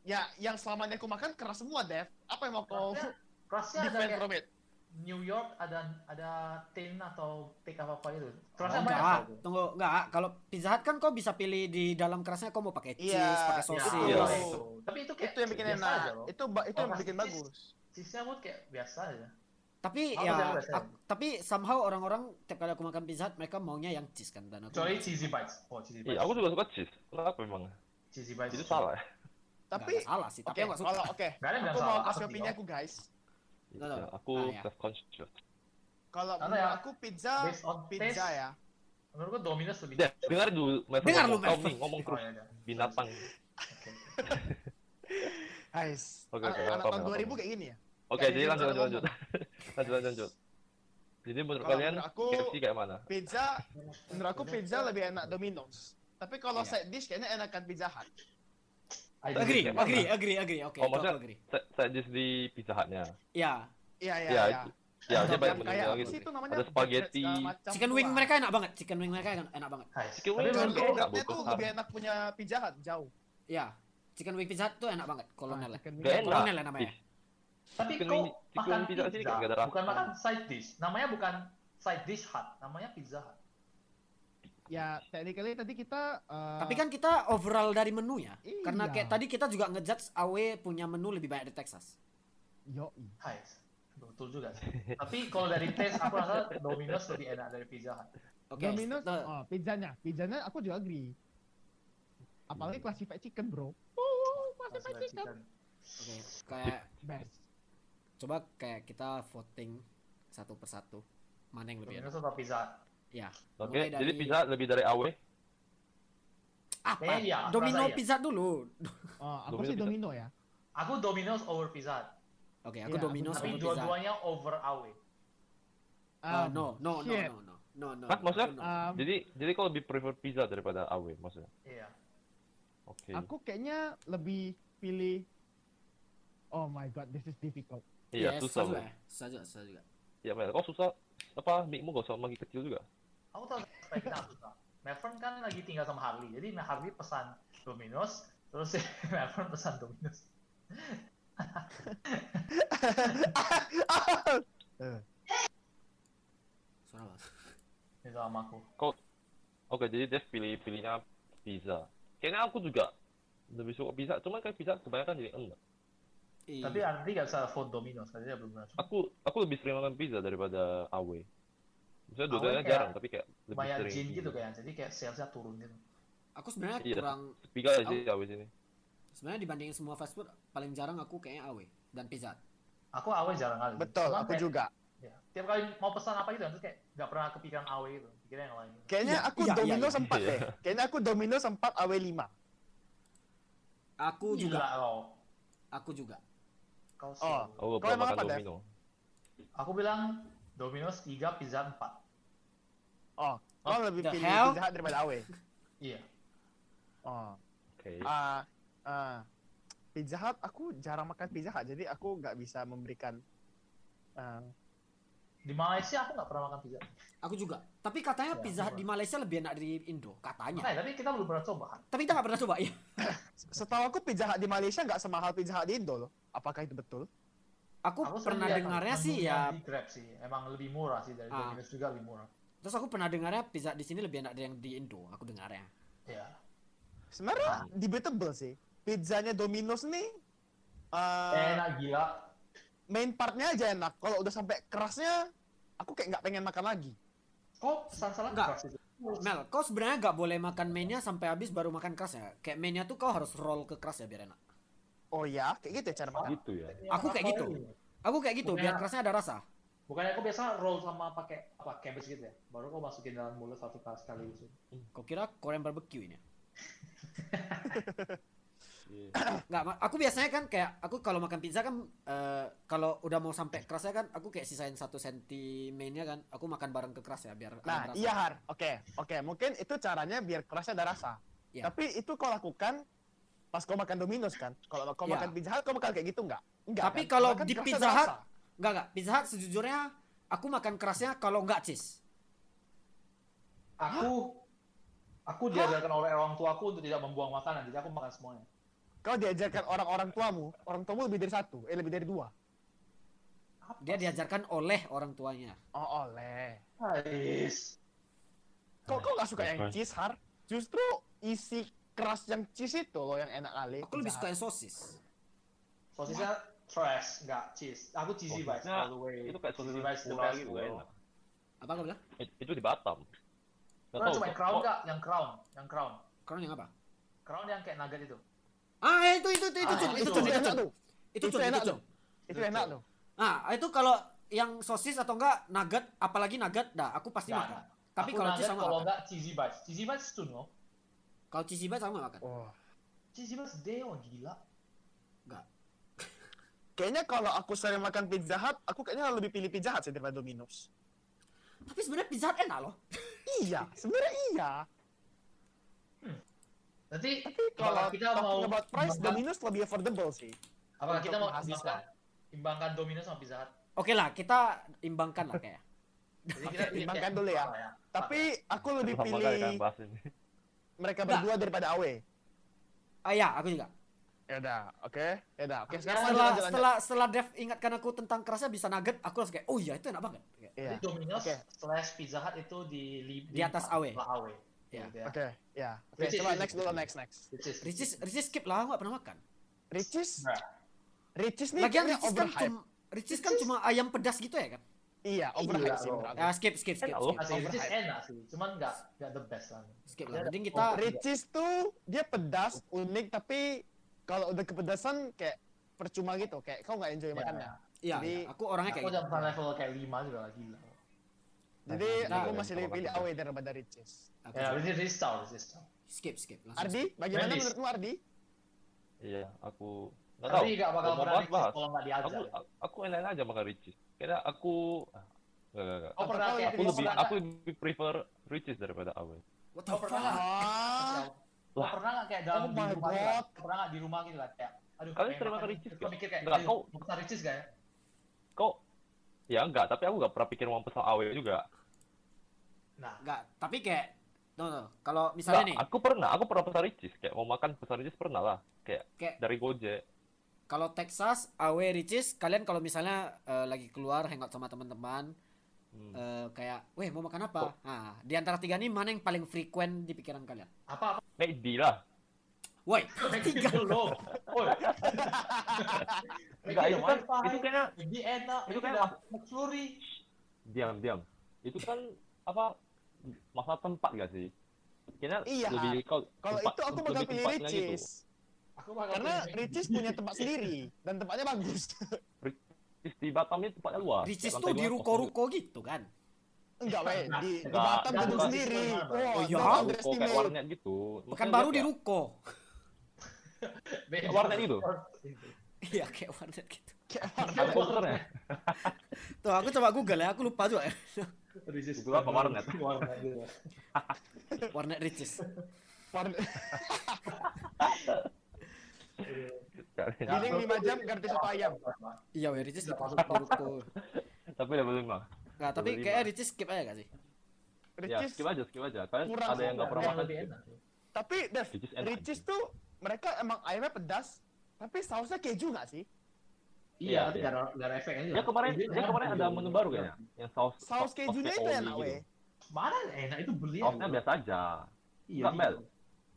Speaker 4: ya yang selama ini aku makan keras semua, Dev. Apa yang mau kau
Speaker 3: Kerasnya, kerasnya ada
Speaker 4: defend
Speaker 3: kayak
Speaker 4: from it?
Speaker 3: New York ada ada tin atau take apa apa itu.
Speaker 1: Oh,
Speaker 3: Kerasnya banyak Ya,
Speaker 1: enggak,
Speaker 3: tau tuh.
Speaker 1: tunggu enggak. Kalau Pizza Hut kan kau bisa pilih di dalam kerasnya kau mau pakai
Speaker 4: Iya,
Speaker 1: cheese, pakai
Speaker 4: iya,
Speaker 1: sosis.
Speaker 3: Ya,
Speaker 2: Iya.
Speaker 3: itu. Tapi itu kayak
Speaker 4: Itu yang bikin
Speaker 3: biasa aja
Speaker 4: enak.
Speaker 3: loh.
Speaker 4: Itu ba- itu yang
Speaker 3: Orang
Speaker 4: bikin
Speaker 3: cheese.
Speaker 4: bagus.
Speaker 3: Cheese-nya buat kayak biasa aja.
Speaker 4: Iya.
Speaker 1: Tapi
Speaker 3: Aku
Speaker 1: ya
Speaker 3: biasa, biasa.
Speaker 1: aku- tapi somehow orang-orang tiap kali aku makan Pizza Hut mereka maunya yang cheese kan dan aku
Speaker 3: Kecuali cheesy bites. Oh, cheesy bites.
Speaker 2: Iya, aku juga suka cheese. Kenapa memang?
Speaker 3: Cheesy bites.
Speaker 2: Itu salah. ya?
Speaker 1: tapi
Speaker 4: Tapi
Speaker 1: salah sih,
Speaker 4: oke,
Speaker 1: tapi aku enggak suka.
Speaker 4: kalau oke.
Speaker 3: Gak ada yang bilang
Speaker 4: Aku mau
Speaker 3: salah.
Speaker 4: kasih
Speaker 3: aku
Speaker 4: opini
Speaker 3: tinggal.
Speaker 4: aku, guys.
Speaker 1: Nggak tahu.
Speaker 2: Iya, aku
Speaker 1: Ah, iya.
Speaker 2: self conscious.
Speaker 4: Kalau
Speaker 3: Karena
Speaker 4: menurut
Speaker 3: ya,
Speaker 4: aku pizza
Speaker 3: based on
Speaker 4: pizza
Speaker 3: taste,
Speaker 4: ya.
Speaker 3: Menurutku Domino's lebih.
Speaker 2: Deh, dengar dulu Mev
Speaker 1: Dengar lu,
Speaker 2: ngomong,
Speaker 1: Mev.
Speaker 2: Kau nih, ngomong
Speaker 3: Oh,
Speaker 2: terus
Speaker 3: ya udah.
Speaker 2: binatang.
Speaker 3: Oke.
Speaker 4: Guys,
Speaker 2: Oke,
Speaker 4: anak
Speaker 2: oke,
Speaker 4: anak
Speaker 2: apa,
Speaker 4: tahun
Speaker 2: apa,
Speaker 4: 2000
Speaker 2: apa.
Speaker 4: kayak gini ya.
Speaker 2: Oke,
Speaker 4: Kayak
Speaker 2: jadi
Speaker 4: dia
Speaker 2: lanjut
Speaker 4: bisa
Speaker 2: lanjut lanjut. Lanjut lanjut lanjut. Jadi menurut
Speaker 4: Kalau
Speaker 2: kalian
Speaker 4: menurut aku,
Speaker 2: KFC kayak mana?
Speaker 4: Pizza menurut aku pizza lebih enak Domino's. Tapi kalau
Speaker 1: Iya.
Speaker 4: side dish kayaknya enakan Pizza Hut.
Speaker 3: I don't
Speaker 1: Agree,
Speaker 3: think
Speaker 2: Oke.
Speaker 1: agree, agree, agree. Oke, itu
Speaker 2: Oh,
Speaker 1: aku
Speaker 2: maksudnya-
Speaker 1: agree.
Speaker 2: Saya just di Pizza Hut-nya.
Speaker 1: Ya,
Speaker 4: Iya, iya,
Speaker 2: Iya,
Speaker 4: iya.
Speaker 2: Ya, dia banyak
Speaker 4: Yang
Speaker 2: menu
Speaker 4: kayak apa
Speaker 2: gitu.
Speaker 4: sih itu namanya?
Speaker 2: Ada spaghetti.
Speaker 4: Segala macam
Speaker 1: Chicken
Speaker 4: tuh,
Speaker 1: wing
Speaker 4: ah.
Speaker 1: mereka enak banget. Chicken wing mereka enak, enak banget.
Speaker 3: Hai.
Speaker 2: Chicken
Speaker 4: Tapi
Speaker 2: wing
Speaker 4: menurut
Speaker 2: Enggak,
Speaker 4: gue enaknya
Speaker 2: bukan.
Speaker 4: tuh lebih enak punya pijahat jauh.
Speaker 1: Ya. Chicken wing pizza Hut tuh enak banget. Kolonel.
Speaker 4: Chicken wing.
Speaker 2: Nggak
Speaker 1: Eh,
Speaker 2: enak. Iya.
Speaker 1: kolonel ya namanya.
Speaker 2: Ih,
Speaker 3: Tapi
Speaker 2: Chicken
Speaker 3: kok
Speaker 2: wing- chicken
Speaker 3: makan
Speaker 2: wing pizza sini
Speaker 3: pizza,
Speaker 2: nggak ada
Speaker 3: bukan
Speaker 2: rasa.
Speaker 3: makan side dish. Namanya bukan side dish hut, namanya pizza hut.
Speaker 4: Ya, technically tadi kita eh,
Speaker 1: Tapi kan kita overall dari menunya.
Speaker 4: Iya.
Speaker 1: Karena kayak tadi kita juga ngejudge AW punya menu lebih banyak di Texas.
Speaker 4: yoi.
Speaker 3: Hai. Betul juga. sih. Tapi kalau dari taste aku rasa Domino's lebih enak dari pizza hut.
Speaker 1: Oke.
Speaker 4: Domino's,
Speaker 1: te-
Speaker 4: oh, pizzanya, pizzanya aku juga agree. Apalagi classified chicken, bro. Oh, classified
Speaker 3: Rasa chicken.
Speaker 4: chicken.
Speaker 1: Oke. Kayak
Speaker 4: Best.
Speaker 1: coba kayak kita voting satu persatu. Mana yang lebih enak?
Speaker 3: Domino's atau pizza hut?
Speaker 1: Ya.
Speaker 2: Oke,
Speaker 1: mulai
Speaker 2: jadi
Speaker 1: dari-
Speaker 2: pizza lebih dari AW.
Speaker 1: Apa?
Speaker 3: Eh, iya,
Speaker 1: Domino
Speaker 3: rasa iya.
Speaker 1: pizza dulu.
Speaker 4: Oh, aku
Speaker 2: Domino
Speaker 4: sih
Speaker 2: pizza.
Speaker 4: domino ya.
Speaker 3: Aku Domino's over pizza hut.
Speaker 1: Oke, aku
Speaker 4: Iya,
Speaker 1: Domino's
Speaker 4: aku-
Speaker 1: over
Speaker 3: Tapi
Speaker 1: pizza. Hut.
Speaker 3: dua-duanya over away.
Speaker 1: Ah,
Speaker 4: Ah,
Speaker 1: no, no, no,
Speaker 4: shit.
Speaker 1: no, no. No, no.
Speaker 2: Hah, maksudnya?
Speaker 1: aku no.
Speaker 4: Um,
Speaker 2: Jadi jadi kau lebih prefer pizza daripada AW maksudnya.
Speaker 3: Iya.
Speaker 2: Oke.
Speaker 4: aku kayaknya lebih pilih Oh my god, this is difficult.
Speaker 2: Iya,
Speaker 1: Yes, susah
Speaker 2: susah. bro.
Speaker 1: juga. Susah juga, susah juga.
Speaker 2: Iya, Mel. Kau susah apa mikmu gak usah lagi kecil juga.
Speaker 3: Aku tahu sampai kita aku tahu. Melvin kan lagi tinggal sama Harley, jadi Harley pesan Domino's, terus Melvin pesan Domino's.
Speaker 1: Suara apa?
Speaker 3: Itu sama aku.
Speaker 2: Oke, jadi Dev pilih pilihnya pizza. Kayaknya aku juga lebih suka pizza, cuman kayak pizza kebanyakan jadi enak.
Speaker 1: Iya.
Speaker 3: Tapi ya- Harley nggak bisa afford Domino's, jadi dia belum pernah. coba.
Speaker 2: Aku aku lebih sering makan pizza daripada AW. Misalnya
Speaker 3: AW
Speaker 2: dua-duanya
Speaker 3: kayak
Speaker 2: jarang, tapi kayak lebih
Speaker 3: Banyak
Speaker 2: sering.
Speaker 3: gin gitu kayak, jadi kayak salesnya turun gitu.
Speaker 1: aku sebenarnya
Speaker 2: Iya.
Speaker 1: kurang
Speaker 2: Sepi kali sih AW sini.
Speaker 1: sebenarnya dibandingin semua fast food paling jarang aku kayaknya AW dan pizza. Hut.
Speaker 3: Aku away jarang kali.
Speaker 4: Betul,
Speaker 3: Cuma
Speaker 4: aku
Speaker 3: kayak-
Speaker 4: juga.
Speaker 3: ya, tiap kali mau pesan apa gitu, terus kayak nggak pernah kepikiran away gitu, pikirnya yang lain. Gitu.
Speaker 4: Kayaknya
Speaker 1: Iya,
Speaker 4: aku
Speaker 1: iya,
Speaker 4: domino
Speaker 1: iya, iya.
Speaker 4: sempat
Speaker 2: Iya.
Speaker 4: deh. Kayaknya aku domino sempat aw 5.
Speaker 1: Aku juga,
Speaker 3: Gila kau,
Speaker 1: aku juga.
Speaker 3: kau sih.
Speaker 4: Oh.
Speaker 2: Aku
Speaker 4: Kau
Speaker 2: gak pernah
Speaker 4: emang
Speaker 2: makan
Speaker 4: apa, Dev?
Speaker 2: domino.
Speaker 3: Aku bilang Domino's 3, pizza 4.
Speaker 4: Oh, kau lebih
Speaker 1: the
Speaker 4: pilih
Speaker 1: hell?
Speaker 4: pizza Hut daripada AW.
Speaker 3: Iya.
Speaker 4: Oh.
Speaker 2: Oke.
Speaker 4: Ah, ah. Pizza Hut aku jarang makan Pizza Hut jadi aku nggak bisa memberikan ah,
Speaker 3: Di Malaysia aku nggak pernah makan pizza.
Speaker 1: Aku juga. Tapi katanya
Speaker 3: Ya,
Speaker 1: pizza Hut
Speaker 3: coba.
Speaker 1: di Malaysia lebih enak dari Indo, katanya.
Speaker 3: Nah, tapi kita belum pernah coba.
Speaker 1: Tapi kita nggak pernah coba ya.
Speaker 4: setahu aku Pizza Hut di Malaysia nggak semahal Pizza Hut di Indo loh. Apakah itu betul?
Speaker 1: Aku
Speaker 3: sering
Speaker 1: pernah
Speaker 3: lihat
Speaker 1: dengarnya
Speaker 3: menu
Speaker 1: sih
Speaker 3: yang
Speaker 1: ya.
Speaker 3: di Grab sih emang lebih murah sih dari
Speaker 1: Ah.
Speaker 3: Domino's juga lebih murah
Speaker 1: Terus aku pernah dengarnya pizza di sini lebih enak dari yang di Indo, aku dengarnya.
Speaker 3: ya
Speaker 4: Sebenarnya debatable sih. Pizzanya Domino's nih ah,
Speaker 1: Eh.
Speaker 3: enak gila
Speaker 4: main partnya aja enak. Kalau udah sampai kerasnya aku kayak nggak pengen makan lagi.
Speaker 3: kok pesan salah
Speaker 1: Enggak.
Speaker 3: keras itu
Speaker 1: Mel, kau sebenarnya nggak boleh makan mainnya sampai habis baru makan kerasnya. Kayak mainnya tuh kau harus roll ke keras ya biar enak.
Speaker 4: Oh ya, kayak gitu ya cara makan.
Speaker 2: Gitu ya.
Speaker 1: Aku kayak gitu. Aku kayak gitu,
Speaker 3: Bukan
Speaker 1: biar
Speaker 3: enak.
Speaker 1: kerasnya ada rasa.
Speaker 3: bukannya aku biasa roll sama pakai apa cabbage gitu ya baru kau masukin dalam mulut satu kali sekali gitu
Speaker 1: Kau kira Korean barbecue ini?
Speaker 2: Iya.
Speaker 1: Nggak, ma- aku biasanya kan kayak aku kalau makan pizza kan eh, kalau udah mau sampai kerasnya kan aku kayak sisain satu senti mainnya kan aku makan bareng ke keras ya biar ada
Speaker 4: Nah,
Speaker 1: rasa.
Speaker 4: iya Har. Oke, oke. Mungkin itu caranya biar kerasnya ada rasa.
Speaker 1: Iya.
Speaker 4: Tapi itu kau lakukan pas kau makan Domino's kan. Kalau kau
Speaker 1: Iya.
Speaker 4: makan Pizza Hut, kau makan kayak gitu nggak? Enggak.
Speaker 1: Tapi
Speaker 4: kan?
Speaker 1: kalau
Speaker 4: Makan
Speaker 1: di
Speaker 4: kerasnya
Speaker 1: Pizza
Speaker 4: ada
Speaker 1: Hut-
Speaker 4: rasa.
Speaker 1: Nggak, nggak. Pizza Hut sejujurnya aku makan kerasnya kalau nggak cheese.
Speaker 3: aku aku diajarkan oleh orang tua aku untuk tidak membuang makanan jadi aku makan semuanya
Speaker 4: kau diajarkan orang-orang tuamu, orang tuamu lebih dari satu, eh lebih dari dua.
Speaker 3: Apa
Speaker 1: Dia diajarkan oleh orang tuanya.
Speaker 4: Oh, oleh.
Speaker 3: guys
Speaker 4: Kok kau nggak suka yang
Speaker 2: Apa?
Speaker 4: cheese Har? Justru isi keras yang cheese itu loh yang enak kali.
Speaker 1: Aku lebih suka yang sosis.
Speaker 3: sosisnya trash nggak cheese aku cheesy bites
Speaker 2: Sosisnya,
Speaker 3: all the way
Speaker 2: Oh, Itu kayak
Speaker 3: cheesy
Speaker 2: sosis
Speaker 3: bites the
Speaker 2: pura
Speaker 3: best
Speaker 2: gitu
Speaker 3: bro.
Speaker 2: gak enak.
Speaker 1: Apa kau bilang?
Speaker 2: It- Itu di Batam. Gak
Speaker 3: Pernah
Speaker 2: tahu,
Speaker 3: coba yang
Speaker 2: kok-
Speaker 3: crown
Speaker 2: kok-
Speaker 3: nggak yang crown yang crown
Speaker 1: Crown yang apa?
Speaker 3: crown yang kayak nugget itu
Speaker 1: Ah, itu itu itu itu
Speaker 3: Ah,
Speaker 1: cun,
Speaker 3: itu
Speaker 1: itu
Speaker 4: Itu,
Speaker 1: cun,
Speaker 4: itu
Speaker 1: itu
Speaker 4: enak
Speaker 1: cun.
Speaker 4: tuh.
Speaker 1: Itu
Speaker 4: Itu
Speaker 1: cun, itu
Speaker 4: enak
Speaker 1: cun.
Speaker 4: Itu
Speaker 3: Betul.
Speaker 4: enak tuh.
Speaker 1: Ah, itu kalau yang sosis atau enggak nugget, apalagi nugget, dah aku pasti
Speaker 3: Nggak
Speaker 1: makan.
Speaker 3: ada.
Speaker 1: Tapi
Speaker 3: Aku
Speaker 1: kalau cheese
Speaker 3: nugget,
Speaker 1: sama
Speaker 3: kalau
Speaker 1: makan.
Speaker 3: nggak cheesy bites cheesy bites itu no
Speaker 1: Kalau cheesy bites sama makan.
Speaker 4: Oh.
Speaker 3: cheesy bites deo gila
Speaker 4: Kayaknya kalau aku sering makan Pizza Hut, aku kayaknya lebih pilih Pizza Hut sih daripada Domino's.
Speaker 1: Tapi sebenarnya pizza Hut enak loh.
Speaker 4: Iya, sebenarnya iya.
Speaker 3: nanti
Speaker 4: Tapi kalau
Speaker 3: apakah kita mau
Speaker 4: talking about price,
Speaker 3: imbangkan-
Speaker 4: Domino's lebih affordable sih.
Speaker 3: apakah kita mau
Speaker 4: untuk mahasiswa.
Speaker 3: imbangkan imbangkan Domino's sama Pizza Hut
Speaker 1: Oke, Oke lah, kita imbangkan lah kayak.
Speaker 3: Jadi kita
Speaker 4: Oke, timbangkan dulu ya.
Speaker 3: Apa
Speaker 4: Tapi aku lebih
Speaker 2: Sama kali kan
Speaker 4: pilih
Speaker 2: bahas ini.
Speaker 4: mereka
Speaker 1: Nggak.
Speaker 4: berdua daripada Awe.
Speaker 1: Ah ya, aku juga.
Speaker 4: Ya udah, oke. Ya udah, oke.
Speaker 1: Setelah
Speaker 4: Sekarang lanjut, lanjut, lanjut.
Speaker 1: setelah setelah Dev ingatkan aku tentang kerasnya bisa nugget, aku langsung kayak, oh iya itu enak banget. Kayak,
Speaker 4: Iya.
Speaker 3: Jadi Domino's
Speaker 4: Oke.
Speaker 3: slash Pizza Hut itu di li-
Speaker 1: Di atas
Speaker 3: empat,
Speaker 1: AW.
Speaker 3: setelah AW.
Speaker 1: Iya.
Speaker 3: Gitu ya.
Speaker 4: Oke, ya. Oke,
Speaker 3: Which is-
Speaker 4: coba next dulu next next.
Speaker 3: Which is-
Speaker 1: Ricis, Ricis skip lah, aku gak pernah makan.
Speaker 4: Ricis?
Speaker 3: Nah.
Speaker 4: Ricis nih
Speaker 1: Lagian
Speaker 4: kayaknya
Speaker 1: Ricis kan
Speaker 4: overhype.
Speaker 1: cuma Ricis kan cuma ayam pedas gitu ya kan?
Speaker 4: Iya, overhype
Speaker 3: Iya,
Speaker 4: sih
Speaker 3: bro.
Speaker 4: menurut aku.
Speaker 1: Ah, skip, skip, skip,
Speaker 2: Enak loh.
Speaker 1: skip,
Speaker 3: Asli, which is
Speaker 4: Overhype.
Speaker 3: enak sih, cuman nggak nggak the best lah.
Speaker 1: skip lah. Mending kita
Speaker 4: Ricis tuh dia pedas, unik tapi kalau udah kepedasan kayak percuma gitu, kayak kau nggak enjoy
Speaker 3: Iya,
Speaker 4: makannya.
Speaker 1: Iya,
Speaker 4: Jadi-
Speaker 1: iya, aku orangnya
Speaker 3: Aku
Speaker 1: kayak
Speaker 3: udah
Speaker 1: gitu.
Speaker 3: pernah level kayak 5 juga lagi lah. gila.
Speaker 4: Jadi
Speaker 2: Nah,
Speaker 4: aku
Speaker 2: iya,
Speaker 4: masih lebih
Speaker 2: kalau
Speaker 4: pilih
Speaker 2: makan.
Speaker 4: Awe daripada Ricis.
Speaker 1: Aku
Speaker 3: Ya,
Speaker 1: juga.
Speaker 3: ini restore, restore.
Speaker 1: skip, skip. langsung skip.
Speaker 4: Ardi, bagaimana
Speaker 3: Manis.
Speaker 4: menurutmu Ardi?
Speaker 2: Iya, aku nggak tahu.
Speaker 3: Tapi nggak bakal
Speaker 2: Mau
Speaker 3: pernah
Speaker 2: bahas,
Speaker 3: restore
Speaker 2: bahas.
Speaker 3: kalau nggak diajak.
Speaker 2: Aku aku enak aja makan Ricis. Karena aku ah, nggak nggak nggak. ya.
Speaker 3: Oh pernah
Speaker 4: Atau
Speaker 3: kayak
Speaker 4: aku
Speaker 2: Aku
Speaker 3: Ricis
Speaker 2: lebih
Speaker 3: pernah
Speaker 2: aku lebih prefer Ricis daripada Awe.
Speaker 1: What the
Speaker 3: Oh, pernah.
Speaker 1: fuck?
Speaker 4: Ah,
Speaker 3: nggak- Kau pernah nggak kayak dalam
Speaker 4: Oh
Speaker 3: di
Speaker 4: my
Speaker 3: rumah gitu kan?
Speaker 4: God.
Speaker 3: Kau pernah nggak di rumah gitu kan kayak aduh
Speaker 2: Kalian
Speaker 3: pengen
Speaker 2: sering
Speaker 3: makan
Speaker 2: makan
Speaker 3: ini.
Speaker 2: Ricis
Speaker 3: Kau
Speaker 2: nggak?
Speaker 3: mikir kayak
Speaker 2: Nggak,
Speaker 3: aduh
Speaker 2: kau-
Speaker 3: mau pesan Ricis nggak ya?
Speaker 2: Kok ya enggak, tapi aku nggak pernah pikir mau pesan Awe juga.
Speaker 3: Nah,
Speaker 1: Enggak, tapi kayak no, no. Kalau misalnya
Speaker 2: Nggak,
Speaker 1: nih,
Speaker 2: aku pernah, aku pernah pesan Ricis kayak mau makan pesan Ricis pernah lah. Kayak
Speaker 1: Kayak-
Speaker 2: dari Gojek.
Speaker 1: kalau Texas, AW, Ricis, kalian kalau misalnya eh, lagi keluar hangout sama teman-teman,
Speaker 2: Hmm.
Speaker 1: eh, kayak, weh mau makan
Speaker 2: Oh.
Speaker 1: apa? Nah, di antara tiga ini mana yang paling frequent di pikiran kalian?
Speaker 3: apa apa?
Speaker 2: McD lah.
Speaker 1: Woi,
Speaker 3: Tiga
Speaker 1: tiga.
Speaker 3: loh. Oh,
Speaker 2: Enggak, itu kan itu kayaknya
Speaker 3: Jadi enak,
Speaker 2: itu
Speaker 3: itu
Speaker 2: kan-
Speaker 3: kan McFlurry.
Speaker 2: diam diam. Itu kan apa masalah tempat gak sih? Kayaknya
Speaker 4: Iya.
Speaker 2: lebih kau
Speaker 4: kalau
Speaker 2: tempat-
Speaker 4: itu aku
Speaker 2: lebih
Speaker 4: bakal pilih
Speaker 2: tempatnya gitu.
Speaker 4: Ricis.
Speaker 3: Aku bakal
Speaker 4: Karena
Speaker 3: pilih
Speaker 4: Ricis punya tempat sendiri dan tempatnya bagus.
Speaker 2: Ricis di Batam ini tempatnya luas.
Speaker 1: Ricis
Speaker 2: Lantai
Speaker 1: tuh
Speaker 2: dua
Speaker 1: di
Speaker 2: kosong
Speaker 1: ruko-ruko gitu kan?
Speaker 4: Enggak, weh. Di, di
Speaker 2: Enggak, enggak,
Speaker 4: Batam gedung
Speaker 2: enggak.
Speaker 4: sendiri. Wah,
Speaker 1: Oh, iya?
Speaker 4: jangan
Speaker 2: gitu. Ruko kayak
Speaker 4: underestimate.
Speaker 2: warnet gitu.
Speaker 1: Bukan
Speaker 2: Maksudnya
Speaker 1: Kan baru
Speaker 2: dia
Speaker 1: di
Speaker 2: kayak-
Speaker 1: ruko.
Speaker 3: Beda.
Speaker 2: warnet itu?
Speaker 1: Iya, kayak warnet gitu.
Speaker 4: Kayak
Speaker 2: Ada komputernya.
Speaker 1: Tuh, aku coba Google ya, aku lupa juga ya.
Speaker 3: Ricis.
Speaker 2: Itu apa, warnet?
Speaker 3: Warnet gitu.
Speaker 1: Warnet Ricis.
Speaker 4: warnet.
Speaker 2: Kayaknya.
Speaker 4: Giling lima jam, ganti satu ayam.
Speaker 1: Iya, weh, Ricis di di ruko.
Speaker 2: Tapi level lima.
Speaker 1: Nah, tapi
Speaker 2: Level lima.
Speaker 1: kayak Ricis skip aja gak sih?
Speaker 2: Ya,
Speaker 4: Ricis.
Speaker 2: skip aja, skip aja. Kalian
Speaker 4: kurang
Speaker 2: ada yang nggak pernah
Speaker 4: Yang
Speaker 2: makan? Iya,
Speaker 3: lebih
Speaker 2: skip.
Speaker 3: enak.
Speaker 4: Tapi, Dev,
Speaker 2: Ricis enak.
Speaker 4: Ricis tuh mereka emang ayamnya pedas, tapi sausnya keju nggak sih?
Speaker 2: Iya,
Speaker 3: Iya, tapi
Speaker 2: iya.
Speaker 3: nggak ada- nggak ada efeknya juga.
Speaker 2: Dia kemarin,
Speaker 3: Jadi
Speaker 2: dia kemarin
Speaker 3: enak
Speaker 2: ada
Speaker 3: gitu.
Speaker 2: menu baru ya? kayaknya, yang saus
Speaker 4: Saus kejunya itu
Speaker 2: saus
Speaker 4: enak,
Speaker 2: keoli
Speaker 4: weh.
Speaker 2: gitu.
Speaker 3: Mana enak itu beli.
Speaker 2: Sausnya biasa aja.
Speaker 3: Iya,
Speaker 2: Nggak,
Speaker 3: iya.
Speaker 2: Mel.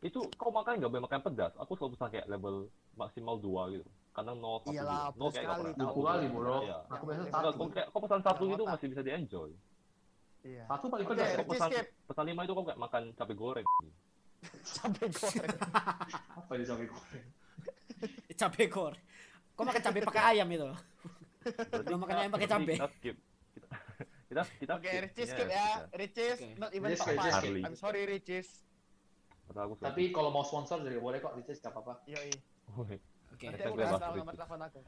Speaker 2: Itu kau makan nggak boleh makan pedas. Aku selalu pesan kayak level maksimal dua gitu. Kadang nol satu dua.
Speaker 4: Iyalah,
Speaker 2: Nol
Speaker 4: pedas
Speaker 2: kayak nggak
Speaker 4: sekali,
Speaker 2: pernah.
Speaker 3: Dua kali, bro.
Speaker 2: Iya.
Speaker 3: Aku biasa
Speaker 4: Nggak,
Speaker 2: Nggak,
Speaker 3: satu.
Speaker 2: kau kayak kau pesan satu
Speaker 4: Nggak
Speaker 2: gitu
Speaker 4: apa-apa.
Speaker 2: masih bisa dienjoy.
Speaker 4: Iya.
Speaker 3: Satu paling
Speaker 4: Oke,
Speaker 3: pedas.
Speaker 2: Kau
Speaker 4: Ricis
Speaker 2: pesan,
Speaker 4: skip.
Speaker 2: pesan lima itu kau kayak makan cabai goreng.
Speaker 4: Cabai goreng.
Speaker 3: Apa di sampai goreng?
Speaker 1: Cabe kor. Kok makan cabe pakai ayam itu? Belum makan ayam pakai cabai.
Speaker 2: Kita skip. Kita kita, kita
Speaker 4: Oke,
Speaker 2: skip.
Speaker 4: Ricis
Speaker 2: Iya,
Speaker 4: skip ya.
Speaker 2: kita.
Speaker 4: Ricis,
Speaker 1: Oke.
Speaker 4: not even
Speaker 3: Ricis,
Speaker 4: top
Speaker 3: Ricis,
Speaker 4: five.
Speaker 2: Harley.
Speaker 4: I'm sorry, Ricis.
Speaker 2: Kata aku sudah-
Speaker 3: Tapi kalau mau sponsor juga boleh kok, Ricis nggak apa-apa.
Speaker 4: Yoi.
Speaker 2: Woi,
Speaker 1: Oke.
Speaker 4: Nanti
Speaker 2: Hashtag
Speaker 4: aku
Speaker 2: bebas,
Speaker 4: kasih tahu
Speaker 2: Ricis.
Speaker 4: nomor telepon aku.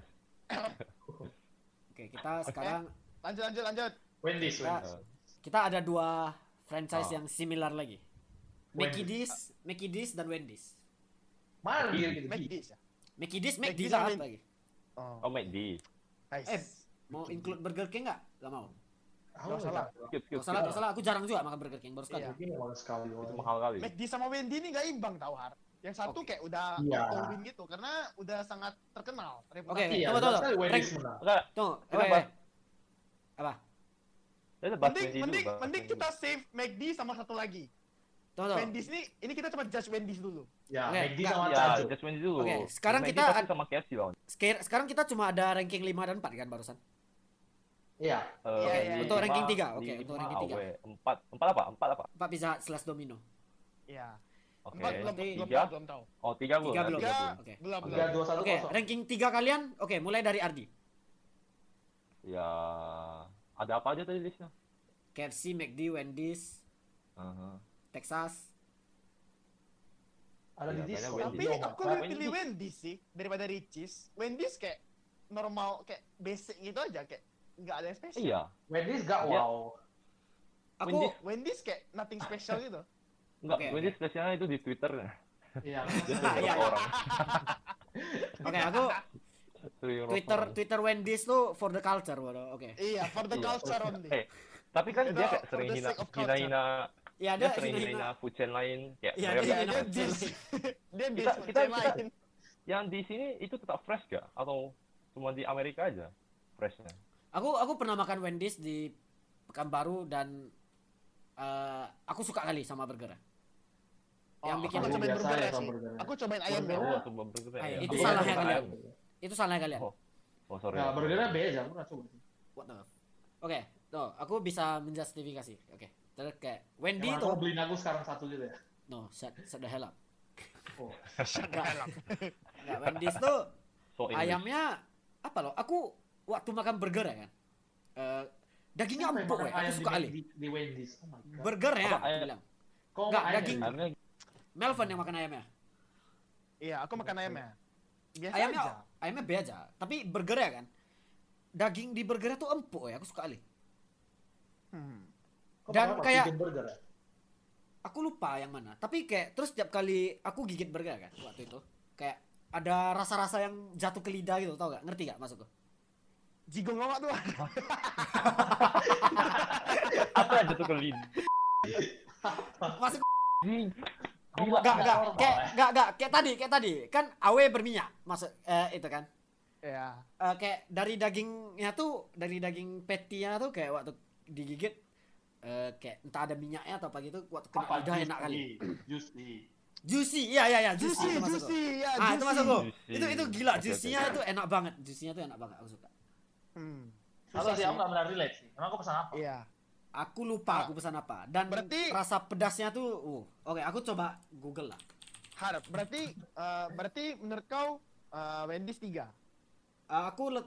Speaker 1: Oke, kita sekarang
Speaker 4: Lanjut, lanjut, lanjut.
Speaker 3: Wendy's,
Speaker 1: Kita-
Speaker 3: Wendy's.
Speaker 1: kita ada dua franchise
Speaker 2: Ah.
Speaker 1: yang similar lagi. Mickey D's, Mickey D's dan Wendy's.
Speaker 3: Mana
Speaker 2: Wendy's.
Speaker 3: gitu?
Speaker 4: McD's ya?
Speaker 1: Mickey D's, McD
Speaker 4: Mickey dan
Speaker 1: lah
Speaker 4: Wendy.
Speaker 1: lagi.
Speaker 4: Oh,
Speaker 2: Oh, McD.
Speaker 4: nice.
Speaker 1: Eh, Mau include Burger King nggak? Gak mau.
Speaker 3: Aku
Speaker 4: Nggak salah.
Speaker 2: Skip, skip.
Speaker 1: Gak salah,
Speaker 2: skip.
Speaker 1: gak salah. Aku jarang juga makan Burger King. Baru sekali.
Speaker 4: Iya.
Speaker 3: Ini mahal sekali.
Speaker 2: Itu
Speaker 3: orang.
Speaker 2: mahal kali.
Speaker 4: McD sama Wendy ini nggak imbang tau Har. Yang satu kayak udah
Speaker 3: Iya.
Speaker 4: all-in gitu karena udah sangat terkenal.
Speaker 1: Oke,
Speaker 4: reputasi.
Speaker 1: oke. Coba,
Speaker 3: Iya,
Speaker 1: coba,
Speaker 3: betul.
Speaker 1: coba.
Speaker 3: Wendy's
Speaker 1: Rank-
Speaker 3: menang.
Speaker 2: Enggak,
Speaker 1: Tunggu.
Speaker 2: Kita
Speaker 1: eh,
Speaker 2: bahas-
Speaker 1: Apa?
Speaker 2: kita bahas
Speaker 4: Mending,
Speaker 2: Wendy dulu,
Speaker 4: mending,
Speaker 2: bahas
Speaker 4: mending
Speaker 2: Wendy
Speaker 4: kita save McD sama satu lagi.
Speaker 1: Tunggu, tunggu.
Speaker 4: Wendy's ini, ini kita cuma judge Wendy's dulu.
Speaker 3: Ya,
Speaker 1: Oke,
Speaker 3: McD
Speaker 1: nggak,
Speaker 3: sama
Speaker 2: dulu. Ya,
Speaker 3: Tajo.
Speaker 2: just Wendy dulu.
Speaker 1: Oke, sekarang
Speaker 2: Wendy
Speaker 1: kita-
Speaker 2: pasti sama KFC Eh, lawan.
Speaker 1: Sekir- Sekarang kita cuma ada ranking 5 dan 4 kan barusan?
Speaker 3: Iya.
Speaker 2: Eh,
Speaker 4: Iya, iya,
Speaker 1: untuk
Speaker 4: iya.
Speaker 1: ranking
Speaker 2: lima,
Speaker 1: tiga, oke,
Speaker 2: lima,
Speaker 1: untuk ranking tiga.
Speaker 2: awe. Empat, empat apa? Empat apa?
Speaker 1: 4 Pizza Hut slash Domino.
Speaker 4: Iya.
Speaker 2: Oke.
Speaker 4: Empat belum,
Speaker 1: berarti
Speaker 4: belum,
Speaker 2: tiga.
Speaker 4: belum tahu.
Speaker 2: Oh, tiga belum.
Speaker 1: Tiga
Speaker 2: ya,
Speaker 1: belum.
Speaker 4: Tiga,
Speaker 1: belum. Oke.
Speaker 4: belum,
Speaker 2: Oke.
Speaker 4: belum.
Speaker 3: Tiga, dua, satu,
Speaker 1: Oke,
Speaker 3: kosong.
Speaker 1: ranking 3 kalian. Oke, mulai dari Ardi.
Speaker 2: Ya, ada apa aja tadi listnya?
Speaker 1: KFC, McD, Wendy's,
Speaker 2: Aha.
Speaker 4: Uh-huh.
Speaker 1: Texas.
Speaker 3: Ada di
Speaker 2: Iya,
Speaker 3: Discord.
Speaker 2: banyak
Speaker 4: Tapi
Speaker 2: Wendy's.
Speaker 4: aku lebih pilih Wendy's sih daripada Ricis. Wendy's kayak normal, kayak basic gitu aja, kayak nggak ada yang spesial.
Speaker 2: Iya.
Speaker 3: Wendy's nggak
Speaker 2: Iya.
Speaker 3: wow.
Speaker 1: Aku
Speaker 2: Wendy's.
Speaker 4: Wendy's kayak nothing special gitu.
Speaker 2: Enggak,
Speaker 1: Oke,
Speaker 2: Wendy spesialnya itu di Twitter.
Speaker 3: Iya.
Speaker 2: Dia
Speaker 1: Iya,
Speaker 2: Twitter
Speaker 1: iya.
Speaker 2: orang.
Speaker 1: Oke, aku Twitter Twitter Wendy's tuh for the culture, waduh. Oke.
Speaker 4: Iya, for the
Speaker 2: Iya.
Speaker 4: culture only.
Speaker 2: Eh, tapi kan dia kayak
Speaker 4: For
Speaker 2: sering
Speaker 4: the
Speaker 2: hina
Speaker 4: sake of
Speaker 2: hina
Speaker 4: culture.
Speaker 2: hina
Speaker 1: Iya,
Speaker 2: dia
Speaker 1: ada
Speaker 2: sering
Speaker 1: hina-hina.
Speaker 2: hina food chain lain kayak
Speaker 1: Iya,
Speaker 2: mereka-
Speaker 1: dia
Speaker 4: Iya, dia
Speaker 1: hina-
Speaker 4: dis. dia dis
Speaker 2: Kita- kita-
Speaker 4: macam
Speaker 2: kita-
Speaker 4: lain.
Speaker 2: yang di sini itu tetap fresh gak atau cuma di Amerika aja freshnya
Speaker 1: Aku aku pernah makan Wendy's di Pekanbaru dan eh, aku suka kali sama burger. Yang
Speaker 4: Oh,
Speaker 1: bikin
Speaker 4: aku
Speaker 3: Aku
Speaker 4: cobain
Speaker 3: biasa
Speaker 4: burger
Speaker 3: ya,
Speaker 4: ya, sih.
Speaker 3: hamburger.
Speaker 4: Aku cobain ayam
Speaker 3: Burger.
Speaker 4: dulu.
Speaker 2: oh cuma burger
Speaker 1: Ah,
Speaker 2: ya.
Speaker 1: itu
Speaker 2: Oh,
Speaker 1: salah
Speaker 2: burger
Speaker 1: ya,
Speaker 2: ayam.
Speaker 1: Itu salah kalian.
Speaker 2: Oh, oh sorry
Speaker 3: Nah, burgernya beda, aku pernah coba.
Speaker 1: What the? Oke, tuh aku bisa menjustifikasi. Oke. Terus kayak Wendy
Speaker 3: Emang
Speaker 1: tuh
Speaker 3: kamu beliin aku sekarang satu gitu ya?
Speaker 1: no shut, shut the hell up.
Speaker 3: Oh.
Speaker 1: Enggak, enggak Wendy's tuh
Speaker 2: so English.
Speaker 1: ayamnya apa loh? Aku waktu makan burger ya kan. eh, dagingnya
Speaker 3: Kenapa
Speaker 1: empuk
Speaker 3: makan
Speaker 1: ya, aku
Speaker 3: ayam di-
Speaker 1: suka kali.
Speaker 3: Di, di Wendy's. Oh my god.
Speaker 1: Burger ya,
Speaker 2: Apa,
Speaker 1: aku
Speaker 2: ayam?
Speaker 1: bilang.
Speaker 3: Kok
Speaker 1: Enggak,
Speaker 3: ayam
Speaker 1: daging.
Speaker 3: ya?
Speaker 2: ayamnya
Speaker 1: Melvin yang makan ayamnya.
Speaker 4: Iya, aku makan ayamnya. Biasa
Speaker 1: Ayamnya
Speaker 4: aja.
Speaker 1: ayamnya B aja, tapi burger ya kan. Daging di burgernya tuh empuk ya, aku suka kali.
Speaker 4: Hmm.
Speaker 3: Kok
Speaker 1: Dan
Speaker 3: makan apa?
Speaker 1: kayak-
Speaker 3: Vegan burger ya?
Speaker 1: Aku lupa yang mana, tapi kayak terus tiap kali aku gigit burger kan waktu itu, kayak ada rasa-rasa yang jatuh ke lidah gitu, tau gak? Ngerti gak maksudku?
Speaker 4: Jigong awak tuh.
Speaker 2: apa aja tuh kelin
Speaker 1: Maksud
Speaker 3: Gila,
Speaker 1: gak, gak,
Speaker 3: normal
Speaker 1: kayak,
Speaker 3: ya.
Speaker 1: gak, gak, kayak tadi, kayak tadi, kan awe berminyak, maksud, eh, itu kan.
Speaker 4: Iya.
Speaker 1: Eh, kayak dari dagingnya tuh dari daging patty-nya tuh kayak waktu digigit eh, kayak entah ada minyaknya atau apa gitu waktu kena
Speaker 3: Apa?
Speaker 1: lidah enak kali
Speaker 3: Juicy.
Speaker 1: juicy iya iya iya juicy
Speaker 4: Juicy,
Speaker 1: itu maksud
Speaker 4: juicy, ya,
Speaker 1: gua. ah itu maksud gua.
Speaker 2: Juicy.
Speaker 1: itu itu gila
Speaker 2: Oke, oke.
Speaker 1: juicy-nya itu enak banget juicy-nya tuh enak banget aku suka
Speaker 4: Hmm.
Speaker 3: Susah
Speaker 1: Apa
Speaker 3: sih,
Speaker 1: sih?
Speaker 3: aku gak pernah relate sih. Emang aku pesan apa?
Speaker 4: Iya.
Speaker 1: aku lupa aku pesan apa dan
Speaker 4: Ah. Berarti-
Speaker 1: rasa pedasnya tuh uh, oke aku coba google lah
Speaker 4: Harap. Berarti eh, berarti menurut kau eh, Wendy's 3
Speaker 1: Eh, aku let,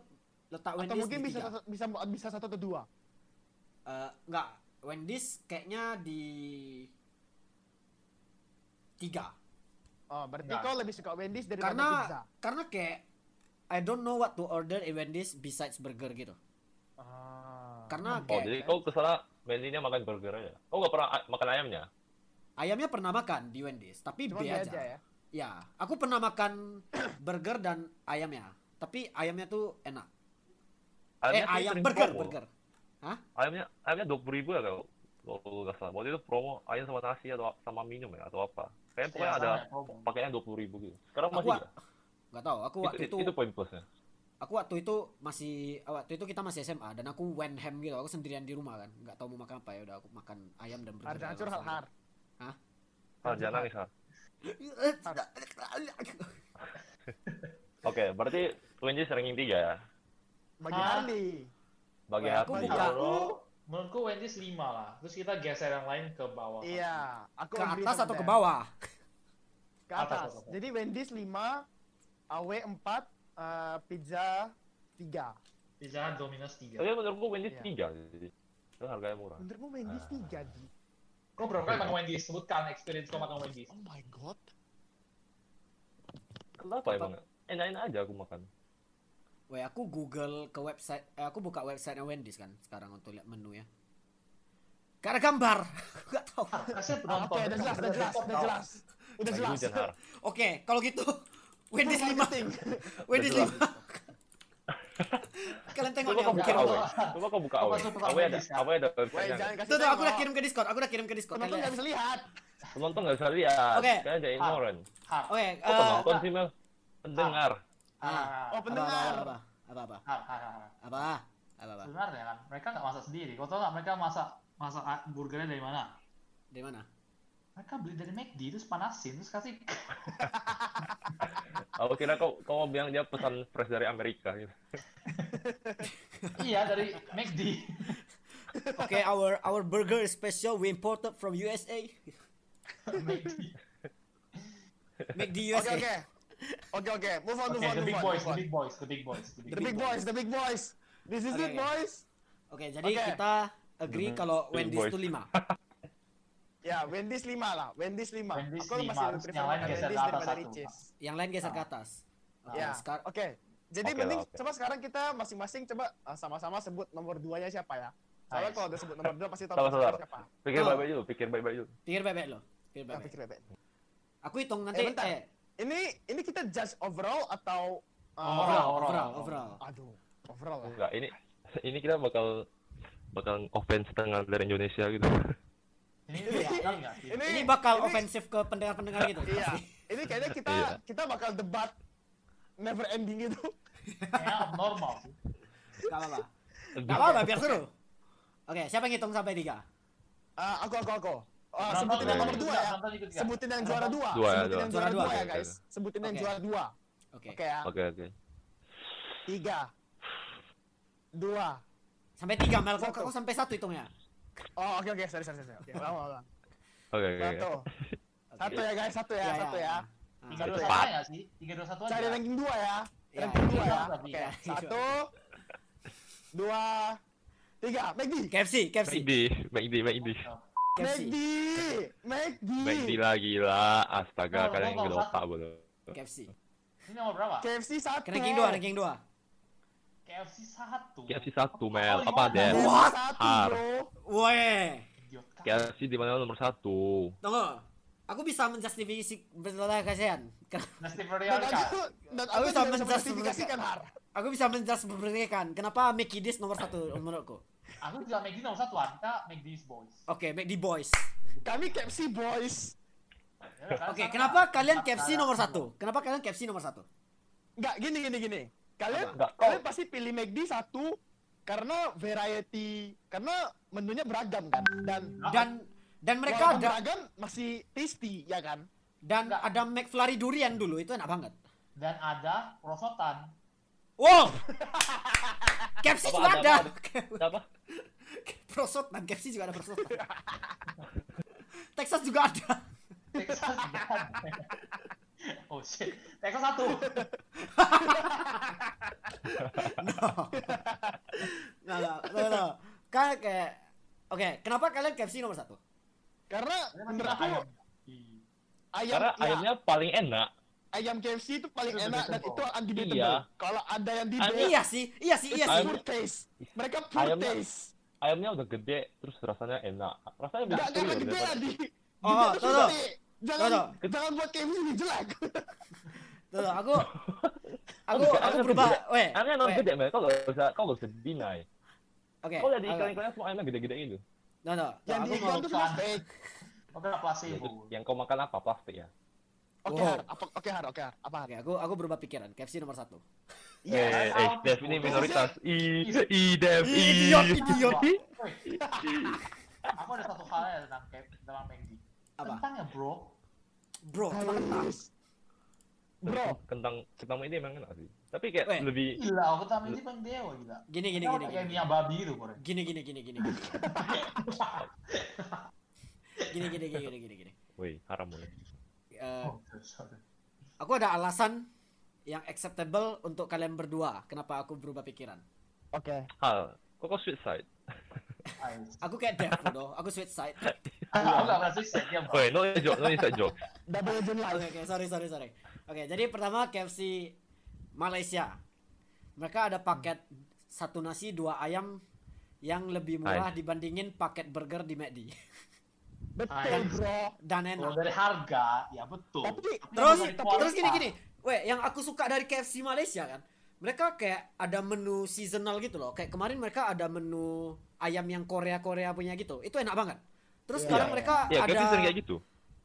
Speaker 1: letak
Speaker 4: atau
Speaker 1: Wendy's
Speaker 4: mungkin
Speaker 1: di
Speaker 4: bisa
Speaker 1: tiga.
Speaker 4: bisa bisa satu atau dua.
Speaker 1: Eh, enggak Wendy's kayaknya di tiga
Speaker 4: Oh, berarti
Speaker 3: Enggak.
Speaker 4: kau lebih suka Wendy's daripada
Speaker 1: karena
Speaker 4: pizza.
Speaker 1: karena kayak I don't know what to order in Wendy's besides burger gitu.
Speaker 4: Ah.
Speaker 1: Karena
Speaker 2: Oh,
Speaker 1: kayak
Speaker 2: jadi kau kesana Wendy's-nya makan burger aja. Kau nggak pernah a- makan ayamnya?
Speaker 1: ayamnya pernah makan di Wendy's, tapi
Speaker 4: cuma
Speaker 1: B aja.
Speaker 4: aja. aja ya.
Speaker 1: Ya, aku pernah makan burger dan ayamnya, tapi ayamnya tuh enak.
Speaker 2: ayamnya
Speaker 1: eh
Speaker 2: sih
Speaker 1: ayam
Speaker 2: sering
Speaker 1: burger
Speaker 2: promo.
Speaker 1: burger.
Speaker 2: Ayamnya ayamnya dua puluh ribu ya kau. Kalau nggak salah. Waktu itu promo ayam sama nasi atau sama minum ya atau apa. Kayaknya pokoknya
Speaker 3: Iya,
Speaker 2: ada
Speaker 3: sama ya.
Speaker 2: pakainya dua puluh ribu gitu. Sekarang
Speaker 1: Aku
Speaker 2: masih
Speaker 1: wa-
Speaker 2: nggak?
Speaker 1: Gak tahu. Aku
Speaker 2: itu,
Speaker 1: waktu
Speaker 2: itu,
Speaker 1: itu,
Speaker 2: itu poin plusnya.
Speaker 1: aku waktu itu masih waktu itu kita masih SMA dan aku Wenham gitu. Aku sendirian di rumah kan, nggak tahu mau makan apa ya. Udah aku makan ayam dan burger.
Speaker 4: Harus hancur hal har.
Speaker 2: Ah, jangan nangis Har. Oke, berarti Wendy's ranking tiga ya.
Speaker 4: Bagi
Speaker 3: Har.
Speaker 4: Harley.
Speaker 2: Bagi
Speaker 1: Wah,
Speaker 2: Har
Speaker 1: aku
Speaker 2: tiga.
Speaker 1: buka.
Speaker 3: Menurutku, menurutku Wendy's 5 lah. Terus kita geser yang lain ke bawah.
Speaker 4: Iya, aku
Speaker 1: Ke
Speaker 4: agree
Speaker 1: atas
Speaker 4: sama
Speaker 1: atau ke
Speaker 4: Dad.
Speaker 1: bawah?
Speaker 4: Ke
Speaker 3: Atas,
Speaker 4: atas.
Speaker 3: atas, atas.
Speaker 4: Jadi Wendy's 5, AW 4, eh, pizza 3.
Speaker 3: Di jangan Domino's 3.
Speaker 2: Tapi menurutku Wendy's
Speaker 4: Iya.
Speaker 2: tiga. Jadi itu harganya murah.
Speaker 1: Iya.
Speaker 4: Menurutmu Wendy's
Speaker 2: Ah.
Speaker 4: 3, Ji?
Speaker 3: Kok berapa kali makan Wendy's? Sebutkan experience kau makan Wendy's.
Speaker 4: Oh my god.
Speaker 2: Kenapa emang? Enak-enak aja aku makan.
Speaker 1: Weh, aku Google ke website, eh, aku buka websitenya Wendy's kan sekarang untuk lihat menu ya. Karena gambar, gak tahu.
Speaker 3: Kasih
Speaker 4: Ah, Oke, udah jelas, udah jelas, udah jelas.
Speaker 3: Nah,
Speaker 4: Udah
Speaker 2: Lagi
Speaker 4: jelas.
Speaker 2: hujan Har.
Speaker 1: Oke, kalau gitu Wendy's 5
Speaker 4: Marketing.
Speaker 1: Wendy's
Speaker 2: Udah
Speaker 1: 5 Kalian tengok
Speaker 2: Coba
Speaker 1: nih
Speaker 2: kau
Speaker 1: aku
Speaker 2: buka
Speaker 1: kirim.
Speaker 2: awe. Coba kau buka awe.
Speaker 3: Masuk ke
Speaker 2: Awe ada,
Speaker 3: Wendy's, ya.
Speaker 2: awe ada
Speaker 4: Weh,
Speaker 2: website-nya.
Speaker 4: jangan kasih
Speaker 1: Tuh tuh aku udah
Speaker 4: tengok.
Speaker 1: kirim ke Discord, aku udah kirim ke Discord.
Speaker 4: Penonton nggak
Speaker 1: Kalian.
Speaker 4: bisa lihat.
Speaker 2: penonton nggak bisa lihat
Speaker 1: Oke.
Speaker 2: kalian jadi ignorant
Speaker 3: Har,
Speaker 1: Oke, eh,
Speaker 2: kok penonton sih mel pendengar
Speaker 1: ah,
Speaker 4: Oh,
Speaker 3: har,
Speaker 4: pendengar.
Speaker 1: Apa apa apa?
Speaker 3: har, har, har.
Speaker 1: Apa? Apa apa?
Speaker 3: Sebenarnya kan, mereka nggak masak sendiri. Kau tau nggak mereka masak masak burgernya dari mana?
Speaker 1: Di mana?
Speaker 3: Mereka beli dari McD, terus panasin, terus kasih
Speaker 2: aku kira kau kau mau bilang dia pesan fresh dari Amerika gitu
Speaker 3: iya dari McD.
Speaker 1: Oke, our our burger is special we imported from USA.
Speaker 3: McD.
Speaker 1: Make the
Speaker 4: Oke,
Speaker 1: USA.
Speaker 4: oke. Oke, oke. Move on,
Speaker 3: Oke,
Speaker 4: move on,
Speaker 3: the
Speaker 4: move
Speaker 3: big
Speaker 4: on,
Speaker 3: boys,
Speaker 4: move
Speaker 3: the
Speaker 4: on.
Speaker 3: big boys, the big boys,
Speaker 4: The big boys, the big boys. This is
Speaker 1: Oke,
Speaker 4: it,
Speaker 1: oke.
Speaker 4: boys.
Speaker 1: Oke, jadi
Speaker 4: Oke.
Speaker 1: kita agree kalau
Speaker 2: Big
Speaker 1: Wendy's
Speaker 2: boys.
Speaker 1: itu 5.
Speaker 4: Ya, Wendy's 5 lah. Wendy's 5.
Speaker 3: Wendy's
Speaker 4: Aku
Speaker 3: lima,
Speaker 4: masih
Speaker 3: terus
Speaker 4: prefer
Speaker 3: yang lain
Speaker 4: makan
Speaker 3: geser ke
Speaker 4: Wendy's
Speaker 3: atas
Speaker 4: daripada
Speaker 3: satu.
Speaker 4: Ricis.
Speaker 1: Yang lain geser ke
Speaker 3: Ah.
Speaker 1: atas. Oke,
Speaker 4: Ya.
Speaker 1: sekar-
Speaker 4: Oke. Jadi
Speaker 2: Oke lah,
Speaker 4: mending
Speaker 2: oke.
Speaker 4: coba sekarang kita masing-masing coba eh, sama-sama sebut nomor 2-nya siapa ya. Soalnya
Speaker 3: Nice.
Speaker 4: kalau udah sebut nomor 2 pasti tahu
Speaker 2: Sabar,
Speaker 4: nomor
Speaker 2: sabar.
Speaker 4: satu siapa.
Speaker 2: pikir
Speaker 1: Oh.
Speaker 2: baik-baik dulu pikir baik-baik dulu
Speaker 1: pikir bebek lo. Pikir
Speaker 4: Ya,
Speaker 1: bebek.
Speaker 4: pikir bebek.
Speaker 1: Aku hitung nanti
Speaker 4: Eh, bentar.
Speaker 1: eh,
Speaker 4: Ini ini kita judge overall atau eh,
Speaker 1: overall,
Speaker 4: oh,
Speaker 3: Overall,
Speaker 1: overall,
Speaker 3: overall.
Speaker 1: overall.
Speaker 4: Aduh, overall lah.
Speaker 2: Oh, Enggak, ini ini kita bakal bakal offense tengah dari Indonesia gitu.
Speaker 3: Ini ya, ini enggak sih.
Speaker 1: Ini bakal ofensif ke pendengar-pendengar gitu.
Speaker 4: Eh, Iya. Ini kayaknya kita
Speaker 2: Iya.
Speaker 4: kita bakal debat never ending gitu.
Speaker 3: Kayaknya abnormal sih.
Speaker 1: Gak apa-apa. Gak apa-apa, biar seru. Oke, siapa yang ngitung sampai tiga?
Speaker 4: Ah, aku aku aku. Ah,
Speaker 3: Nonton
Speaker 4: sebutin yang
Speaker 2: juga,
Speaker 4: nomor dua ya.
Speaker 3: nonton juga.
Speaker 4: Sebutin yang juara dua.
Speaker 2: Dua,
Speaker 4: Sebutin
Speaker 2: dua.
Speaker 4: yang juara
Speaker 1: Juara
Speaker 4: dua
Speaker 1: dua.
Speaker 4: ya guys. Sebutin yang
Speaker 1: Oke.
Speaker 4: juara dua.
Speaker 1: Oke.
Speaker 4: Oke ya.
Speaker 2: Oke, oke.
Speaker 4: Tiga. Dua.
Speaker 1: Sampai tiga, Mel. Kok,
Speaker 4: Satu.
Speaker 1: kok sampai satu hitungnya?
Speaker 4: Oh oke oke sorry sorry sorry. Oke, ulang, ulang, ulang.
Speaker 2: Oke, oke. oke.
Speaker 4: Satu. Satu ya guys, satu ya,
Speaker 1: Iya,
Speaker 4: satu
Speaker 1: iya.
Speaker 4: ya.
Speaker 1: Ah.
Speaker 3: Tiga dua
Speaker 4: Cepat.
Speaker 3: satu aja sih. Tiga dua satu aja.
Speaker 4: Cari ranking dua ya.
Speaker 1: Iya,
Speaker 4: Ranking
Speaker 1: iya.
Speaker 4: dua ya.
Speaker 3: Iya,
Speaker 4: Oke.
Speaker 3: iya.
Speaker 4: Satu. Dua. Tiga. Megdi.
Speaker 1: KFC, KFC.
Speaker 2: McD, McD, McD.
Speaker 3: Hmm.
Speaker 1: KFC.
Speaker 4: Megdi. Megdi.
Speaker 2: McD lagi lah. Astaga,
Speaker 3: Nah,
Speaker 2: kalian
Speaker 3: gua mau
Speaker 2: gelopak
Speaker 3: satu.
Speaker 2: bro.
Speaker 1: KFC.
Speaker 3: Ini nomor berapa?
Speaker 4: KFC satu.
Speaker 1: Ke ranking dua, ranking dua.
Speaker 3: KFC satu.
Speaker 2: KFC satu, Mel.
Speaker 3: Oh,
Speaker 2: Apa, Del?
Speaker 3: iya.
Speaker 1: What?
Speaker 4: Satu
Speaker 2: Har.
Speaker 4: bro.
Speaker 1: Woi.
Speaker 3: Idiot kan.
Speaker 2: KFC Ya di mana nomor satu?
Speaker 1: Tunggu. Aku bisa menjustifikasi betul-betul kasihan.
Speaker 3: Nah, Steve Royal
Speaker 4: Dan
Speaker 3: kan.
Speaker 4: aku dan
Speaker 1: Aku
Speaker 4: aku juga
Speaker 1: sama
Speaker 4: bisa
Speaker 1: Jas
Speaker 4: menjustifikasikan Har.
Speaker 1: Aku bisa menjustifikasikan kenapa Mickey Dis nomor satu menurutku.
Speaker 3: Aku juga McD nomor satu. Anda McD's boys.
Speaker 1: Oke, make the boys.
Speaker 4: Kami KFC boys.
Speaker 3: Ya, kan,
Speaker 1: Oke,
Speaker 3: sama.
Speaker 1: kenapa kalian
Speaker 3: Sama.
Speaker 1: KFC nomor satu? Kenapa kalian KFC nomor satu?
Speaker 4: Enggak gini gini gini. Kalian
Speaker 2: Apa? Nggak,
Speaker 4: kalian
Speaker 2: kau-
Speaker 4: pasti pilih McD satu karena variety karena menunya beragam kan dan
Speaker 1: Dan dan mereka
Speaker 4: walaupun
Speaker 1: ada
Speaker 4: beragam masih tasty ya kan.
Speaker 1: dan ada McFlurry durian dulu itu enak banget.
Speaker 3: Dan ada prosotan.
Speaker 1: Wow. KFC
Speaker 2: Apa
Speaker 1: juga
Speaker 2: ada,
Speaker 1: ada.
Speaker 2: apa Apa?
Speaker 1: Prosot dan KFC juga ada prosot. Texas juga ada.
Speaker 3: Texas juga ada. Oh shit. Texas satu.
Speaker 1: No. no, no, no, no. Kayak kayak Oke, kenapa kalian KFC nomor satu?
Speaker 4: Karena
Speaker 3: Karena masih
Speaker 4: menurut aku
Speaker 3: ayam. Iya.
Speaker 4: ayam
Speaker 2: Karena
Speaker 4: ya,
Speaker 2: ayamnya paling enak.
Speaker 4: ayam KFC itu paling
Speaker 3: Itu
Speaker 4: enak dan
Speaker 3: debatable.
Speaker 4: itu undebatable.
Speaker 2: Iya.
Speaker 4: Kalau ada yang di
Speaker 2: Ayam-
Speaker 1: Iya sih, iya sih, iya sih.
Speaker 2: Ayam-
Speaker 4: pure taste. Mereka pure
Speaker 2: Ayamnya-
Speaker 4: taste.
Speaker 2: Ayamnya udah gede, terus rasanya enak. Rasanya lebih
Speaker 4: Enggak karena
Speaker 2: superior
Speaker 4: gede
Speaker 2: daripada-
Speaker 4: tadi.
Speaker 1: Oh,
Speaker 4: Gede tuh
Speaker 1: tuh, tuh.
Speaker 4: gede. Jangan
Speaker 1: Tuh,
Speaker 4: jangan buat KFC ini jelek.
Speaker 1: Tuh, tuh, aku aku
Speaker 2: Enggak,
Speaker 1: aku
Speaker 2: ayamnya
Speaker 1: berubah.
Speaker 2: gede.
Speaker 1: Weh.
Speaker 2: Ayamnya gitu. emang
Speaker 1: weh.
Speaker 2: gede, Mel. Kau gak usah, kau gak usah deny.
Speaker 4: Eh,
Speaker 1: Oke.
Speaker 2: Kau lihat di
Speaker 1: aku-
Speaker 2: iklan-iklannya semua ayamnya gede-gede gitu.
Speaker 1: No, no. Tuh,
Speaker 4: Yang di
Speaker 1: aku
Speaker 4: iklan
Speaker 1: mau
Speaker 4: tuh semua
Speaker 3: kan.
Speaker 4: fake.
Speaker 3: Oke, placebo.
Speaker 2: Ya, Yang kau makan apa? Plastik ya?
Speaker 4: Oke,
Speaker 1: Wow.
Speaker 4: Har. Apa- Oke, Har. Oke, Har. Apa, Har?
Speaker 1: Oke, aku aku berubah pikiran. KFC nomor satu.
Speaker 4: Yes.
Speaker 2: Eh, eh, Dev ini minoritas. I, I, Dev, I.
Speaker 1: Idiot, idiot.
Speaker 3: Woi. Aku ada satu hal ya tentang Cap, tentang McD.
Speaker 1: Apa?
Speaker 3: Kentangnya bro.
Speaker 1: Bro, cuma kentang.
Speaker 4: Halus. Bro,
Speaker 2: Kentang, kentang ini emang enak sih. Tapi kayak
Speaker 1: Weh.
Speaker 2: lebih,
Speaker 3: Gila, aku kentang McD paling dewa gila.
Speaker 1: Gini gini
Speaker 3: Kenapa
Speaker 1: gini. Eh.
Speaker 3: Kayak
Speaker 1: gini.
Speaker 3: minyak babi itu, bro.
Speaker 1: Gini gini gini gini. gini. Gini gini gini gini gini gini.
Speaker 2: woi, haram mulai.
Speaker 1: Eh,
Speaker 3: Oh, sorry.
Speaker 1: aku ada alasan yang acceptable untuk kalian berdua kenapa aku berubah pikiran.
Speaker 4: oke.
Speaker 2: Hal, kok kau sweet side?
Speaker 3: Ayo.
Speaker 1: Aku kayak Dev bodoh, aku switch side.
Speaker 3: Aku gak pernah sukses dia, ya, bro.
Speaker 2: Woi, no joke, no inside joke.
Speaker 4: Double
Speaker 1: Oke,
Speaker 4: agent live.
Speaker 1: oke, sorry, sorry, sorry. Oke, jadi pertama KFC Malaysia. Mereka ada paket satu nasi dua ayam yang lebih murah dibandingin paket burger di McD
Speaker 4: Betul,
Speaker 3: Ayam.
Speaker 4: bro.
Speaker 1: dan
Speaker 3: Kalau
Speaker 1: enak.
Speaker 3: dari harga, ya betul.
Speaker 4: Tapi-
Speaker 1: Terus,
Speaker 3: dari
Speaker 1: terus
Speaker 3: kualitas.
Speaker 1: gini gini. Weh, yang aku suka dari KFC Malaysia kan, mereka kayak ada menu seasonal gitu loh. Kayak kemarin mereka ada menu ayam yang Korea Korea punya gitu. Itu enak banget. Terus
Speaker 4: Iya,
Speaker 1: sekarang
Speaker 4: iya.
Speaker 1: mereka
Speaker 2: Ya,
Speaker 1: ada
Speaker 2: Gabi sering kayak gitu.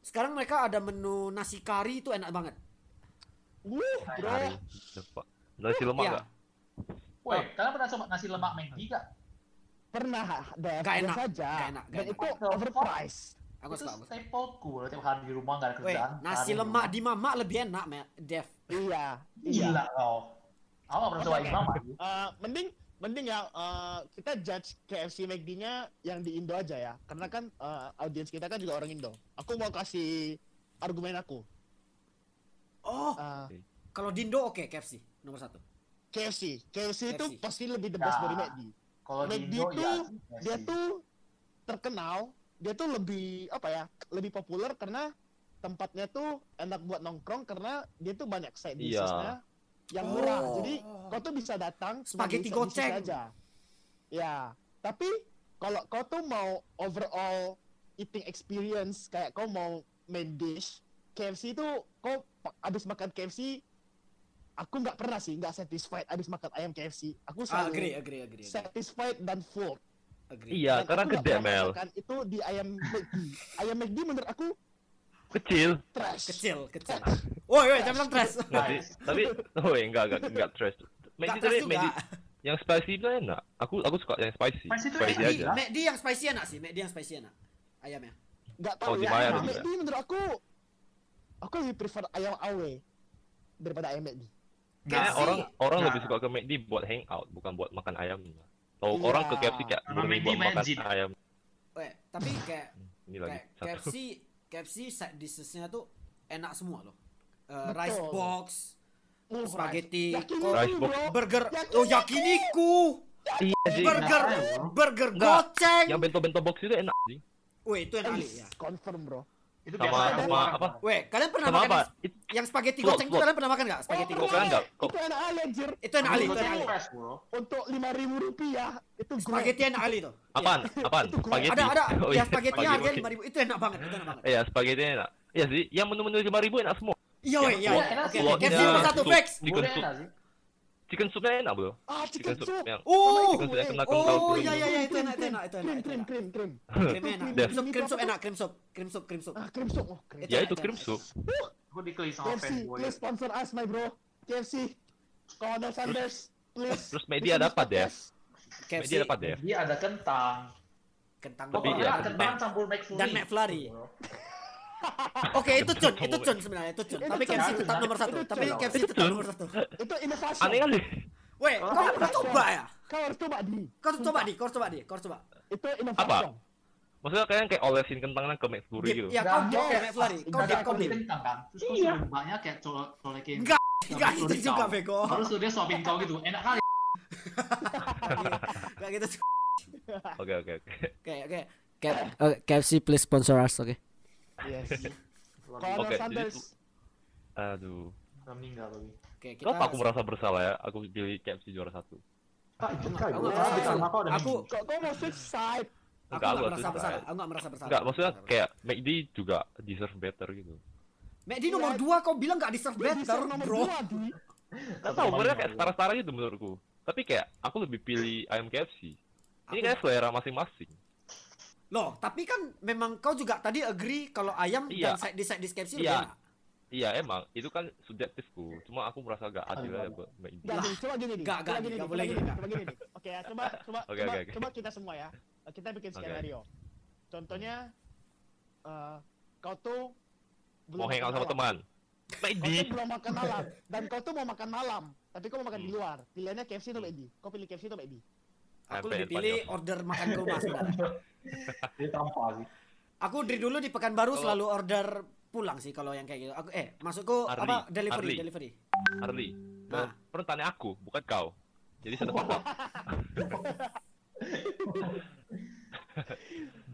Speaker 1: sekarang mereka ada menu nasi kari itu enak banget.
Speaker 4: Wuh, bro. Ya.
Speaker 2: Hari, cepat. Nasi lemak
Speaker 1: Iya.
Speaker 2: gak?
Speaker 3: Woi, kalian pernah coba nasi lemak McD gak?
Speaker 4: Pernah, Dev.
Speaker 1: Gak
Speaker 4: Biasa
Speaker 1: enak, gak
Speaker 4: aja.
Speaker 1: enak, gak
Speaker 4: Dan
Speaker 1: enak.
Speaker 4: itu overpriced.
Speaker 1: Aku
Speaker 3: itu
Speaker 1: suka. Aku suka.
Speaker 3: stapleku loh, tiap hari di rumah gak ada
Speaker 1: Weh,
Speaker 3: kerjaan.
Speaker 1: nasi
Speaker 3: sehari
Speaker 1: lemak
Speaker 3: di
Speaker 1: di mama lebih enak, Matt. Dev.
Speaker 4: Iya.
Speaker 3: rumah. Gila kau. Aku gak pernah
Speaker 4: Oke,
Speaker 3: coba
Speaker 4: oke.
Speaker 3: imam lagi.
Speaker 4: Eh, mending mending ya eh, kita judge KFC McD-nya yang di Indo aja ya. Karena kan eh, audiens kita kan juga orang Indo. Aku mau kasih argumen aku.
Speaker 1: Oh,
Speaker 4: Eh,
Speaker 1: kalau Dindo oke KFC nomor satu.
Speaker 4: KFC, KFC itu
Speaker 1: KFC.
Speaker 4: pasti lebih the best
Speaker 3: Ya.
Speaker 4: dari McD.
Speaker 3: Kalau di
Speaker 4: McD
Speaker 3: Indo ya,
Speaker 4: tuh, dia tuh terkenal dia tuh lebih apa ya lebih populer karena tempatnya tuh enak buat nongkrong karena dia tuh banyak side
Speaker 2: Iya.
Speaker 4: dishesnya yang murah
Speaker 1: Oh.
Speaker 4: jadi kau tuh bisa datang cuma
Speaker 1: Spaghetti
Speaker 4: beli side dishes
Speaker 1: goceng.
Speaker 4: aja ya tapi kalau kau tuh mau overall eating experience kayak kau mau main dish KFC itu kau pa- abis makan KFC aku nggak pernah sih nggak satisfied abis makan ayam KFC. Aku
Speaker 1: Ah,
Speaker 4: selalu
Speaker 1: agree, agree, agree. agree,
Speaker 4: satisfied dan full.
Speaker 1: agree.
Speaker 2: Iya,
Speaker 4: Dan
Speaker 2: karena
Speaker 4: aku Nah, nggak
Speaker 2: gede
Speaker 4: pernah
Speaker 2: Mel.
Speaker 4: makan itu di ayam McD. ayam McD menurut aku
Speaker 2: Kecil.
Speaker 4: trash.
Speaker 1: Kecil, kecil. Woi, woi, jangan bilang trash.
Speaker 2: Nanti, tapi oh enggak enggak enggak trash.
Speaker 1: Nggak
Speaker 2: Maggi
Speaker 1: trash
Speaker 2: tapi
Speaker 1: juga.
Speaker 2: Maggi yang spicy itu enak. Aku aku suka yang spicy.
Speaker 3: Spicy itu
Speaker 2: spicy
Speaker 3: enak.
Speaker 2: aja.
Speaker 3: Iya.
Speaker 1: McD yang spicy enak sih, McD yang spicy enak. Ayamnya.
Speaker 4: Nggak
Speaker 2: Oh,
Speaker 4: tahu ya.
Speaker 2: dibayar
Speaker 4: Ayam
Speaker 2: juga.
Speaker 4: McD menurut aku aku lebih prefer ayam awe daripada ayam McD.
Speaker 2: Kayaknya
Speaker 1: Nah,
Speaker 2: Eh, orang orang
Speaker 1: Ya.
Speaker 3: Nah.
Speaker 2: lebih suka ke McD buat hangout bukan buat makan ayam. Kalau
Speaker 1: Ya.
Speaker 4: Iya.
Speaker 2: orang ke KFC kayak
Speaker 3: Karena
Speaker 2: murni
Speaker 3: McD
Speaker 2: buat makan
Speaker 3: manjin.
Speaker 2: ayam.
Speaker 1: Weh, tapi kayak
Speaker 2: Ini lagi
Speaker 1: kayak
Speaker 2: satu.
Speaker 1: KFC KFC side dishesnya tuh enak semua loh. Eh,
Speaker 4: Betul.
Speaker 1: rice box,
Speaker 4: Oh,
Speaker 1: Spaghetti,
Speaker 4: Yakiniku,
Speaker 2: Rice box.
Speaker 4: bro. Eh,
Speaker 1: burger,
Speaker 4: Yakiniku.
Speaker 1: oh yakiniku,
Speaker 2: Iya sih.
Speaker 1: burger,
Speaker 3: Kenapa?
Speaker 1: burger
Speaker 2: Enggak. Yang
Speaker 1: goceng.
Speaker 2: bento-bento box itu enak sih.
Speaker 1: Weh, itu enak
Speaker 4: Eh,
Speaker 1: kali ya.
Speaker 4: Confirm bro.
Speaker 3: Itu
Speaker 2: Sama-
Speaker 3: biasa
Speaker 4: sama
Speaker 3: orang.
Speaker 2: apa?
Speaker 1: Weh, kalian pernah
Speaker 2: Sama
Speaker 1: makan
Speaker 2: apa?
Speaker 1: yang- yang spaghetti
Speaker 2: Plot,
Speaker 1: goceng itu
Speaker 2: plot.
Speaker 1: kalian pernah makan nggak spaghetti
Speaker 4: Oh,
Speaker 1: goceng?
Speaker 2: Goceng enggak? Kok
Speaker 4: Itu enak kali anjir.
Speaker 1: Itu enak kali, itu enak kali.
Speaker 3: Fresh, bro.
Speaker 4: Untuk 5.000 rupiah itu great.
Speaker 1: Spaghetti enak kali tuh. Iya.
Speaker 2: apaan? Apaan?
Speaker 4: Itu gua-
Speaker 2: Spaghetti.
Speaker 1: Ada ada
Speaker 2: Oh iya,
Speaker 1: yang spaghetti harga
Speaker 2: oke.
Speaker 1: lima ribu itu enak banget, itu enak banget.
Speaker 2: Iya, spaghetti enak. Iya sih, yang menu-menu 5000 enak semua.
Speaker 1: Iya weh, iya.
Speaker 3: Iya,
Speaker 1: iya.
Speaker 3: enak
Speaker 1: Oke,
Speaker 3: sih.
Speaker 1: oke, KFC nomor
Speaker 2: Telurnya,
Speaker 1: satu
Speaker 2: sup,
Speaker 1: flex.
Speaker 2: Chicken
Speaker 3: Gurih
Speaker 2: soup,
Speaker 3: enak sih.
Speaker 2: chicken soupnya enak bro.
Speaker 4: Ah, chicken soup.
Speaker 2: yang
Speaker 1: Oh,
Speaker 2: chicken soup yang kena kentang
Speaker 1: oh
Speaker 2: tuh.
Speaker 1: iya iya iya itu enak, itu enak, itu enak.
Speaker 4: Krim,
Speaker 1: itu
Speaker 4: krim,
Speaker 1: enak.
Speaker 4: krim, krim.
Speaker 1: Krim enak.
Speaker 4: Def.
Speaker 1: Krim sup, krim sup enak, krim sup, krim sup, krim sup.
Speaker 4: Ah, krim soup. Oh, krim.
Speaker 2: Ya itu cream soup.
Speaker 3: Gue dikeli sama
Speaker 4: KFC,
Speaker 3: fanboy.
Speaker 4: please sponsor us, my bro. KFC, Colonel Sanders, please.
Speaker 2: terus media ada apa, Dev? Dia
Speaker 1: KFC
Speaker 2: dapat ya? deh.
Speaker 3: Dia ada kentang.
Speaker 1: kentang
Speaker 2: Iya. Tapi
Speaker 1: doang.
Speaker 2: ya,
Speaker 3: ada
Speaker 2: kentang.
Speaker 3: kentang campur McFlurry.
Speaker 1: Dan McFlurry.
Speaker 3: Bro.
Speaker 1: Oke, itu cun, itu cun sebenarnya, itu cun.
Speaker 4: Itu
Speaker 1: Tapi
Speaker 4: cun,
Speaker 1: KFC
Speaker 3: itu
Speaker 1: tetap
Speaker 3: cun.
Speaker 1: nomor satu.
Speaker 4: Itu
Speaker 1: Tapi
Speaker 3: cun.
Speaker 1: KFC
Speaker 2: Itu
Speaker 1: tetap
Speaker 2: cun.
Speaker 1: nomor satu.
Speaker 4: Itu inovasi.
Speaker 2: Aneh kan? kali.
Speaker 1: Weh, kau nggak pernah coba ya?
Speaker 4: Kau harus coba di.
Speaker 1: Kau coba di, kau coba di, kau coba.
Speaker 4: Itu inovasi.
Speaker 2: Apa?
Speaker 4: dong.
Speaker 2: Maksudnya kalian kayak olesin kentangnya ke McFlurry
Speaker 1: Dip,
Speaker 2: gitu.
Speaker 1: Ya kau
Speaker 3: Nggak
Speaker 1: dip
Speaker 3: mau.
Speaker 1: kayak McFlurry, kau
Speaker 3: Ada
Speaker 1: dip, kau
Speaker 3: kentang
Speaker 1: dip.
Speaker 3: ah, kentang kan. Terus gue suruh mbaknya kayak colek colekin.
Speaker 1: Enggak,
Speaker 3: Sama
Speaker 1: enggak
Speaker 3: McFlurry
Speaker 1: itu gitu juga
Speaker 3: kau.
Speaker 1: bego.
Speaker 3: Terus dia suapin kau gitu. Enak kali.
Speaker 1: Enggak gitu. cun.
Speaker 2: Oke oke oke.
Speaker 1: Oke, oke. K- oke, KFC please sponsor us, oke.
Speaker 4: Yes.
Speaker 2: Oke,
Speaker 4: Colonel
Speaker 2: jadi
Speaker 4: Sanders.
Speaker 2: itu- Aduh.
Speaker 3: Udah meninggal tapi.
Speaker 1: Oke, kita
Speaker 2: Kenapa aku merasa bersalah ya? Aku pilih KFC juara satu.
Speaker 3: Kak, itu kak.
Speaker 1: Aku
Speaker 3: Gue
Speaker 1: nggak
Speaker 3: pas
Speaker 1: merasa
Speaker 3: di kamar
Speaker 1: bersalah.
Speaker 3: kau ada
Speaker 1: Aku
Speaker 3: minggu.
Speaker 4: Kok kau mau switch side?
Speaker 1: aku
Speaker 2: Enggak,
Speaker 1: nggak
Speaker 2: aku
Speaker 1: merasa
Speaker 2: susah.
Speaker 1: bersalah. Aku nggak merasa bersalah.
Speaker 2: Enggak, maksudnya kayak McD juga deserve better gitu.
Speaker 1: Medi nomor 2 kau bilang gak deserve
Speaker 4: Dia
Speaker 1: better,
Speaker 4: disuruh nomor
Speaker 1: bro.
Speaker 4: dua di.
Speaker 2: Gak tau, mereka kayak setara-setara gitu menurutku. Tapi kayak aku lebih pilih ayam KFC. Ini
Speaker 1: Aku-
Speaker 2: kayak selera masing-masing.
Speaker 1: Loh, tapi kan memang kau juga tadi agree kalau ayam
Speaker 2: Iya.
Speaker 1: dan side dish side dish KFC lebih
Speaker 2: Iya.
Speaker 1: enak.
Speaker 2: Iya emang, itu kan subjektifku. Cuma aku merasa gak adil aja buat McD.
Speaker 4: Gak, gini, coba gini nih.
Speaker 1: Gak, gak,
Speaker 4: coba gini,
Speaker 1: gak
Speaker 4: nih,
Speaker 1: boleh
Speaker 4: coba
Speaker 1: gini,
Speaker 4: gini,
Speaker 1: gak.
Speaker 4: coba gini nih. Oke, ya, coba coba
Speaker 2: Oke,
Speaker 4: coba,
Speaker 2: oke, oke.
Speaker 4: coba kita semua ya. Kita bikin
Speaker 2: Oke.
Speaker 4: skenario. Contohnya eh, kau tuh
Speaker 2: Mau hangout
Speaker 4: makan
Speaker 1: ya.
Speaker 2: sama
Speaker 4: malam.
Speaker 2: teman.
Speaker 4: Kau tuh
Speaker 2: McD.
Speaker 4: belum makan malam dan kau tuh mau makan malam, tapi kau mau makan di
Speaker 2: Hmm.
Speaker 4: luar. Pilihannya KFC atau McD? Kau pilih KFC atau McD?
Speaker 1: Aku
Speaker 2: Sampai
Speaker 1: lebih
Speaker 2: depan
Speaker 1: pilih
Speaker 2: ya.
Speaker 1: order makan ke rumah sebenarnya.
Speaker 3: Dia tampar sih.
Speaker 1: Aku dari dulu di Pekanbaru
Speaker 2: Kalau-
Speaker 1: selalu order pulang sih kalau yang kayak gitu. Aku eh maksudku
Speaker 2: Arli,
Speaker 1: apa delivery,
Speaker 2: Arli.
Speaker 1: delivery.
Speaker 2: Harley,
Speaker 1: Nah.
Speaker 2: pertanyaan aku, bukan kau. Jadi sudah tahu.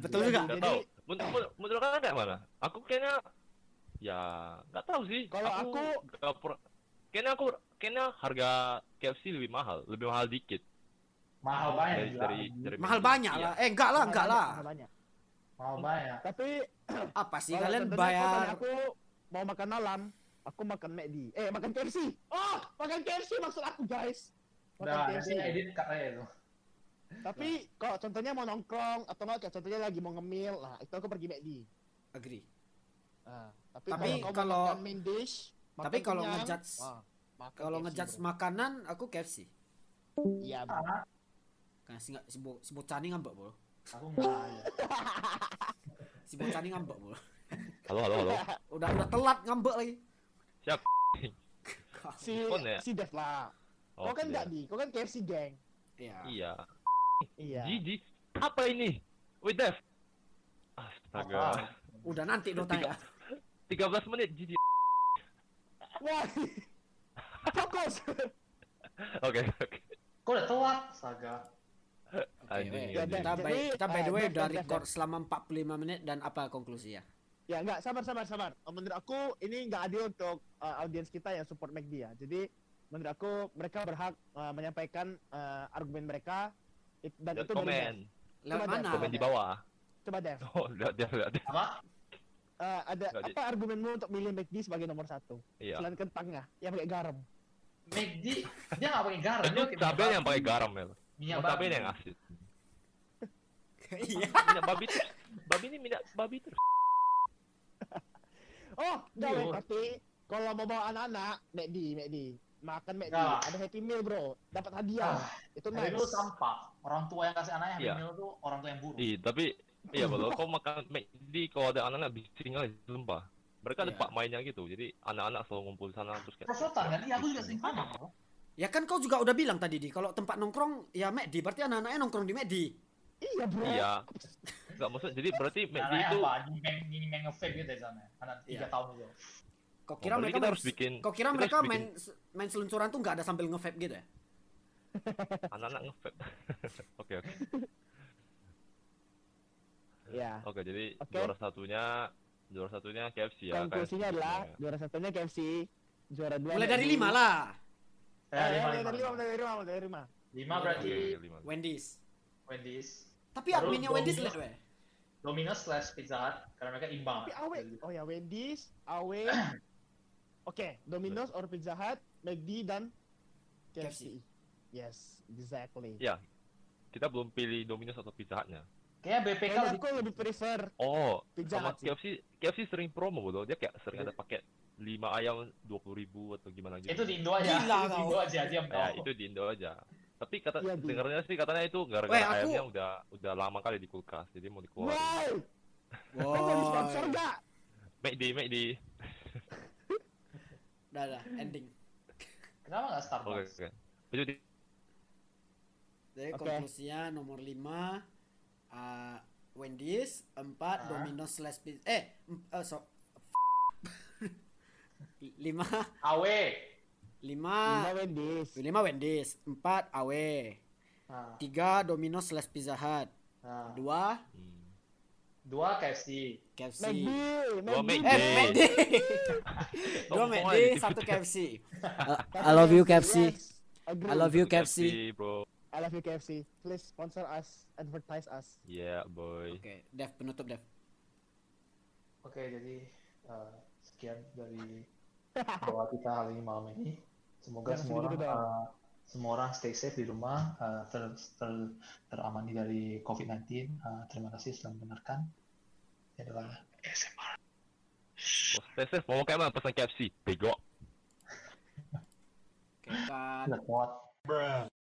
Speaker 1: Betul juga.
Speaker 2: Gak
Speaker 4: Jadi-
Speaker 2: tahu. Menurut, menurut- menurut kalian kayak mana? Aku kayaknya ya nggak tahu sih.
Speaker 4: Kalau aku-
Speaker 2: nggak per- kayaknya aku kayaknya harga KFC lebih mahal, lebih mahal dikit
Speaker 3: Mahal banyak
Speaker 2: dari
Speaker 3: gila.
Speaker 2: Iya, dari, dari
Speaker 1: Mahal
Speaker 2: McD.
Speaker 1: banyak
Speaker 2: Iya.
Speaker 1: lah. Eh enggak lah,
Speaker 4: Mahal
Speaker 1: enggak
Speaker 4: banyak,
Speaker 1: lah.
Speaker 4: mahal banyak.
Speaker 3: Mahal banyak.
Speaker 4: Tapi
Speaker 1: Apa sih
Speaker 4: kalau
Speaker 1: kalian
Speaker 4: contohnya kau tanya
Speaker 1: bayar?
Speaker 4: aku mau makan malam, aku makan McD. Eh, makan KFC. Oh, makan KFC maksud aku, guys. Makan
Speaker 3: Udah,
Speaker 4: KFC.
Speaker 3: nanti edit katanya itu.
Speaker 4: Tapi kalau contohnya mau nongkrong atau nggak kayak contohnya lagi mau ngemil, lah itu aku pergi McD. Iya,
Speaker 1: Agree.
Speaker 4: Ah, tapi,
Speaker 1: Tapi
Speaker 4: kalau,
Speaker 1: kalau-
Speaker 4: kalau makan main dish,
Speaker 1: tapi
Speaker 4: makan
Speaker 1: kalau
Speaker 4: kenyang,
Speaker 1: ngejudge-
Speaker 4: wah, makan
Speaker 1: Kalau
Speaker 4: KFC,
Speaker 1: ngejudge
Speaker 4: bro.
Speaker 1: makanan aku KFC.
Speaker 4: iya bro.
Speaker 1: Kan si si bo- si bocah ni ngambek, Bro.
Speaker 3: Aku nggak.
Speaker 1: Si bocah ni ngambek, Bro.
Speaker 2: Iya. Halo halo halo.
Speaker 1: Udah udah telat ngambek lagi.
Speaker 2: Siap.
Speaker 1: Ah,
Speaker 4: si
Speaker 2: Respon ya?
Speaker 4: si Dev lah.
Speaker 2: Oh,
Speaker 4: kau
Speaker 2: sudah.
Speaker 4: kan enggak di, kau kan KFC gang.
Speaker 1: Iya.
Speaker 2: Iya.
Speaker 4: Iya.
Speaker 2: Gigi, apa ini? Wait Dev.
Speaker 3: Apa?
Speaker 2: Astaga.
Speaker 1: Udah nanti dong tanya.
Speaker 2: 13 menit Gigi.
Speaker 4: Wah. Fokus.
Speaker 2: Oke oke.
Speaker 3: Kok udah telat? Saga.
Speaker 1: Oke,
Speaker 2: Anjing,
Speaker 1: weh.
Speaker 4: ya,
Speaker 2: anjing.
Speaker 1: kita by,
Speaker 4: Jadi,
Speaker 1: kita by the
Speaker 4: eh,
Speaker 3: ya,
Speaker 1: way ya,
Speaker 4: Dev,
Speaker 1: udah
Speaker 4: Dev, Dev,
Speaker 1: record selama 45 menit dan apa konklusi ya?
Speaker 4: ya enggak, sabar sabar sabar. Eh, Menurut aku ini enggak adil untuk eh, audiens kita yang support McD ya. Jadi menurut aku mereka berhak eh, menyampaikan eh, argumen mereka It- dan
Speaker 2: Lihat
Speaker 4: itu dari
Speaker 2: komen,
Speaker 1: Lewat
Speaker 4: Coba, Dev,
Speaker 1: mana?
Speaker 4: coba,
Speaker 2: komen di bawah.
Speaker 4: Dev. Coba Dev,
Speaker 2: Oh, lihat lihat lihat.
Speaker 3: Apa?
Speaker 4: eh, ada
Speaker 2: Nggak, Dev.
Speaker 4: apa argumenmu untuk milih McD sebagai nomor satu?
Speaker 2: Iya.
Speaker 4: Selain kentangnya yang Ya, pakai garam.
Speaker 3: McD dia nggak pakai garam.
Speaker 2: Itu
Speaker 3: dia pakai
Speaker 2: cabai
Speaker 3: minyak
Speaker 2: yang pakai
Speaker 3: babi.
Speaker 2: garam ya.
Speaker 3: Minyak
Speaker 2: Cabai
Speaker 3: babi.
Speaker 2: yang asin.
Speaker 1: Iya.
Speaker 2: Minyak babi terus. Babi ini minyak babi terus.
Speaker 4: Oh, enggak,
Speaker 3: Iya.
Speaker 4: weh, tapi kalau mau bawa anak-anak, McD, McD. Makan McD,
Speaker 3: Nah.
Speaker 4: ada happy meal, bro. Dapat hadiah.
Speaker 3: Ah,
Speaker 4: Itu
Speaker 3: Nah,
Speaker 4: nice.
Speaker 3: itu sampah. Orang tua yang kasih anaknya
Speaker 2: Iya.
Speaker 3: hamil itu orang tua yang buruk.
Speaker 2: Iya, tapi iya kalau kau makan McD kalau ada anak-anak bising aja lembah. Mereka ada
Speaker 1: Iya.
Speaker 2: pak mainnya gitu. Jadi anak-anak selalu ngumpul di sana terus kayak.
Speaker 3: Prosotan kan? Iya, aku juga sering panas. loh.
Speaker 1: Ya kan kau juga udah bilang tadi di kalau tempat nongkrong ya McD berarti anak-anaknya nongkrong di McD.
Speaker 4: Iya, bro.
Speaker 2: Iya. Enggak maksud jadi berarti McD
Speaker 3: Anaknya
Speaker 2: itu
Speaker 3: Nah, apa? Ini main nge-vape gitu di sana. Anak
Speaker 1: Iya.
Speaker 3: tiga tahun itu.
Speaker 1: Kau kira
Speaker 2: Oh,
Speaker 1: mereka
Speaker 2: berarti kita
Speaker 1: main-
Speaker 2: harus bikin-
Speaker 1: Kau kira
Speaker 2: kita
Speaker 1: mereka
Speaker 2: harus
Speaker 1: main main seluncuran tuh nggak ada sambil nge-vape gitu ya?
Speaker 2: anak-anak ngevap. Oke oke.
Speaker 4: Iya.
Speaker 2: Oke, jadi
Speaker 4: Oke.
Speaker 2: juara satunya juara satunya KFC ya.
Speaker 4: Konklusinya
Speaker 2: kayak-
Speaker 4: adalah juara satunya KFC, juara
Speaker 3: Iya,
Speaker 4: dua
Speaker 1: Mulai dari
Speaker 4: McD.
Speaker 1: lima lah.
Speaker 4: Eh,
Speaker 3: Eh, lima,
Speaker 4: mulai dari lima,
Speaker 3: lima.
Speaker 4: mulai dari lima, mulai dari lima.
Speaker 3: Lima
Speaker 1: Oke,
Speaker 2: Oke,
Speaker 3: berarti
Speaker 2: oke, lima.
Speaker 1: Wendy's.
Speaker 3: Wendy's.
Speaker 1: Tapi
Speaker 3: Baru
Speaker 1: adminnya
Speaker 3: dong.
Speaker 1: Wendy's lah gue.
Speaker 3: Domino's slash Pizza Hut karena mereka imbang.
Speaker 4: Tapi awe, oh ya Wendy's, awe, oke, Domino's or Pizza Hut, McD dan KFC. Yes, exactly.
Speaker 2: Iya. Kita belum pilih Domino's atau Pizza Hut-nya.
Speaker 3: Kayak BPK
Speaker 4: Kayaknya
Speaker 3: lebih
Speaker 4: aku lebih prefer
Speaker 2: Oh,
Speaker 4: Pizza
Speaker 2: sama
Speaker 4: Hut sih.
Speaker 2: KFC KFC sering promo loh. Dia kayak sering ada paket 5 ayam 20 ribu atau gimana gitu.
Speaker 3: Iya. itu di Indo aja.
Speaker 1: Gila
Speaker 3: itu di
Speaker 1: kau.
Speaker 3: Indo aja Oh. dia
Speaker 2: Ya,
Speaker 3: mau.
Speaker 2: itu di Indo aja. Tapi kata
Speaker 4: Iya, Bi.
Speaker 2: dengarnya sih katanya itu gara-gara
Speaker 1: Weh, aku-
Speaker 2: ayamnya udah udah lama kali di kulkas. Jadi mau dikeluarin.
Speaker 4: Wow, kamu mau di sponsor
Speaker 1: Wow.
Speaker 4: nggak?
Speaker 2: McD, McD.
Speaker 1: Dah dah ending.
Speaker 3: Kenapa nggak
Speaker 2: Oke,
Speaker 3: Starbucks?
Speaker 2: oke. Jadi
Speaker 1: Jadi
Speaker 4: Oke.
Speaker 1: konklusinya nomor 5 Wendy's, 4
Speaker 3: Ah.
Speaker 1: Domino's slash pizza. Eh, em- eh, so, 5
Speaker 3: AW.
Speaker 1: 5 Ah.
Speaker 4: Nggak Wendy's.
Speaker 1: 5 Wendy's, 4 AW,
Speaker 3: Nah,
Speaker 1: 3 Domino's slash Pizza Hut,
Speaker 3: nah.
Speaker 1: 2
Speaker 2: hmm.
Speaker 3: Dua KFC.
Speaker 1: KFC.
Speaker 4: McD,
Speaker 2: Gua
Speaker 1: Eh,
Speaker 4: McD.
Speaker 2: McD.
Speaker 1: McD. 2
Speaker 2: Sombong
Speaker 1: McD,
Speaker 2: aja di
Speaker 1: 1
Speaker 2: Twitter.
Speaker 1: KFC. I love you KFC.
Speaker 4: Yes, agree.
Speaker 1: I love you
Speaker 2: Satu
Speaker 1: KFC.
Speaker 2: bro.
Speaker 4: I love you KFC. Please sponsor us, advertise us.
Speaker 2: Yeah, boy.
Speaker 1: Oke, Dev penutup Dev.
Speaker 3: Oke, jadi eh, sekian dari doa kita hari ini malam ini. Semoga
Speaker 4: Jangan
Speaker 3: semua orang
Speaker 4: sedih-sedih dong.
Speaker 3: eh, semua orang stay safe di rumah, eh, ter, ter- teramani dari COVID-19. Eh, terima kasih sudah mendengarkan. Ya, Ini adalah ASMR.
Speaker 2: Bos Tesef mau kayak mana pesan KFC? Bego.
Speaker 1: Oke, kan.
Speaker 3: Sudah kuat.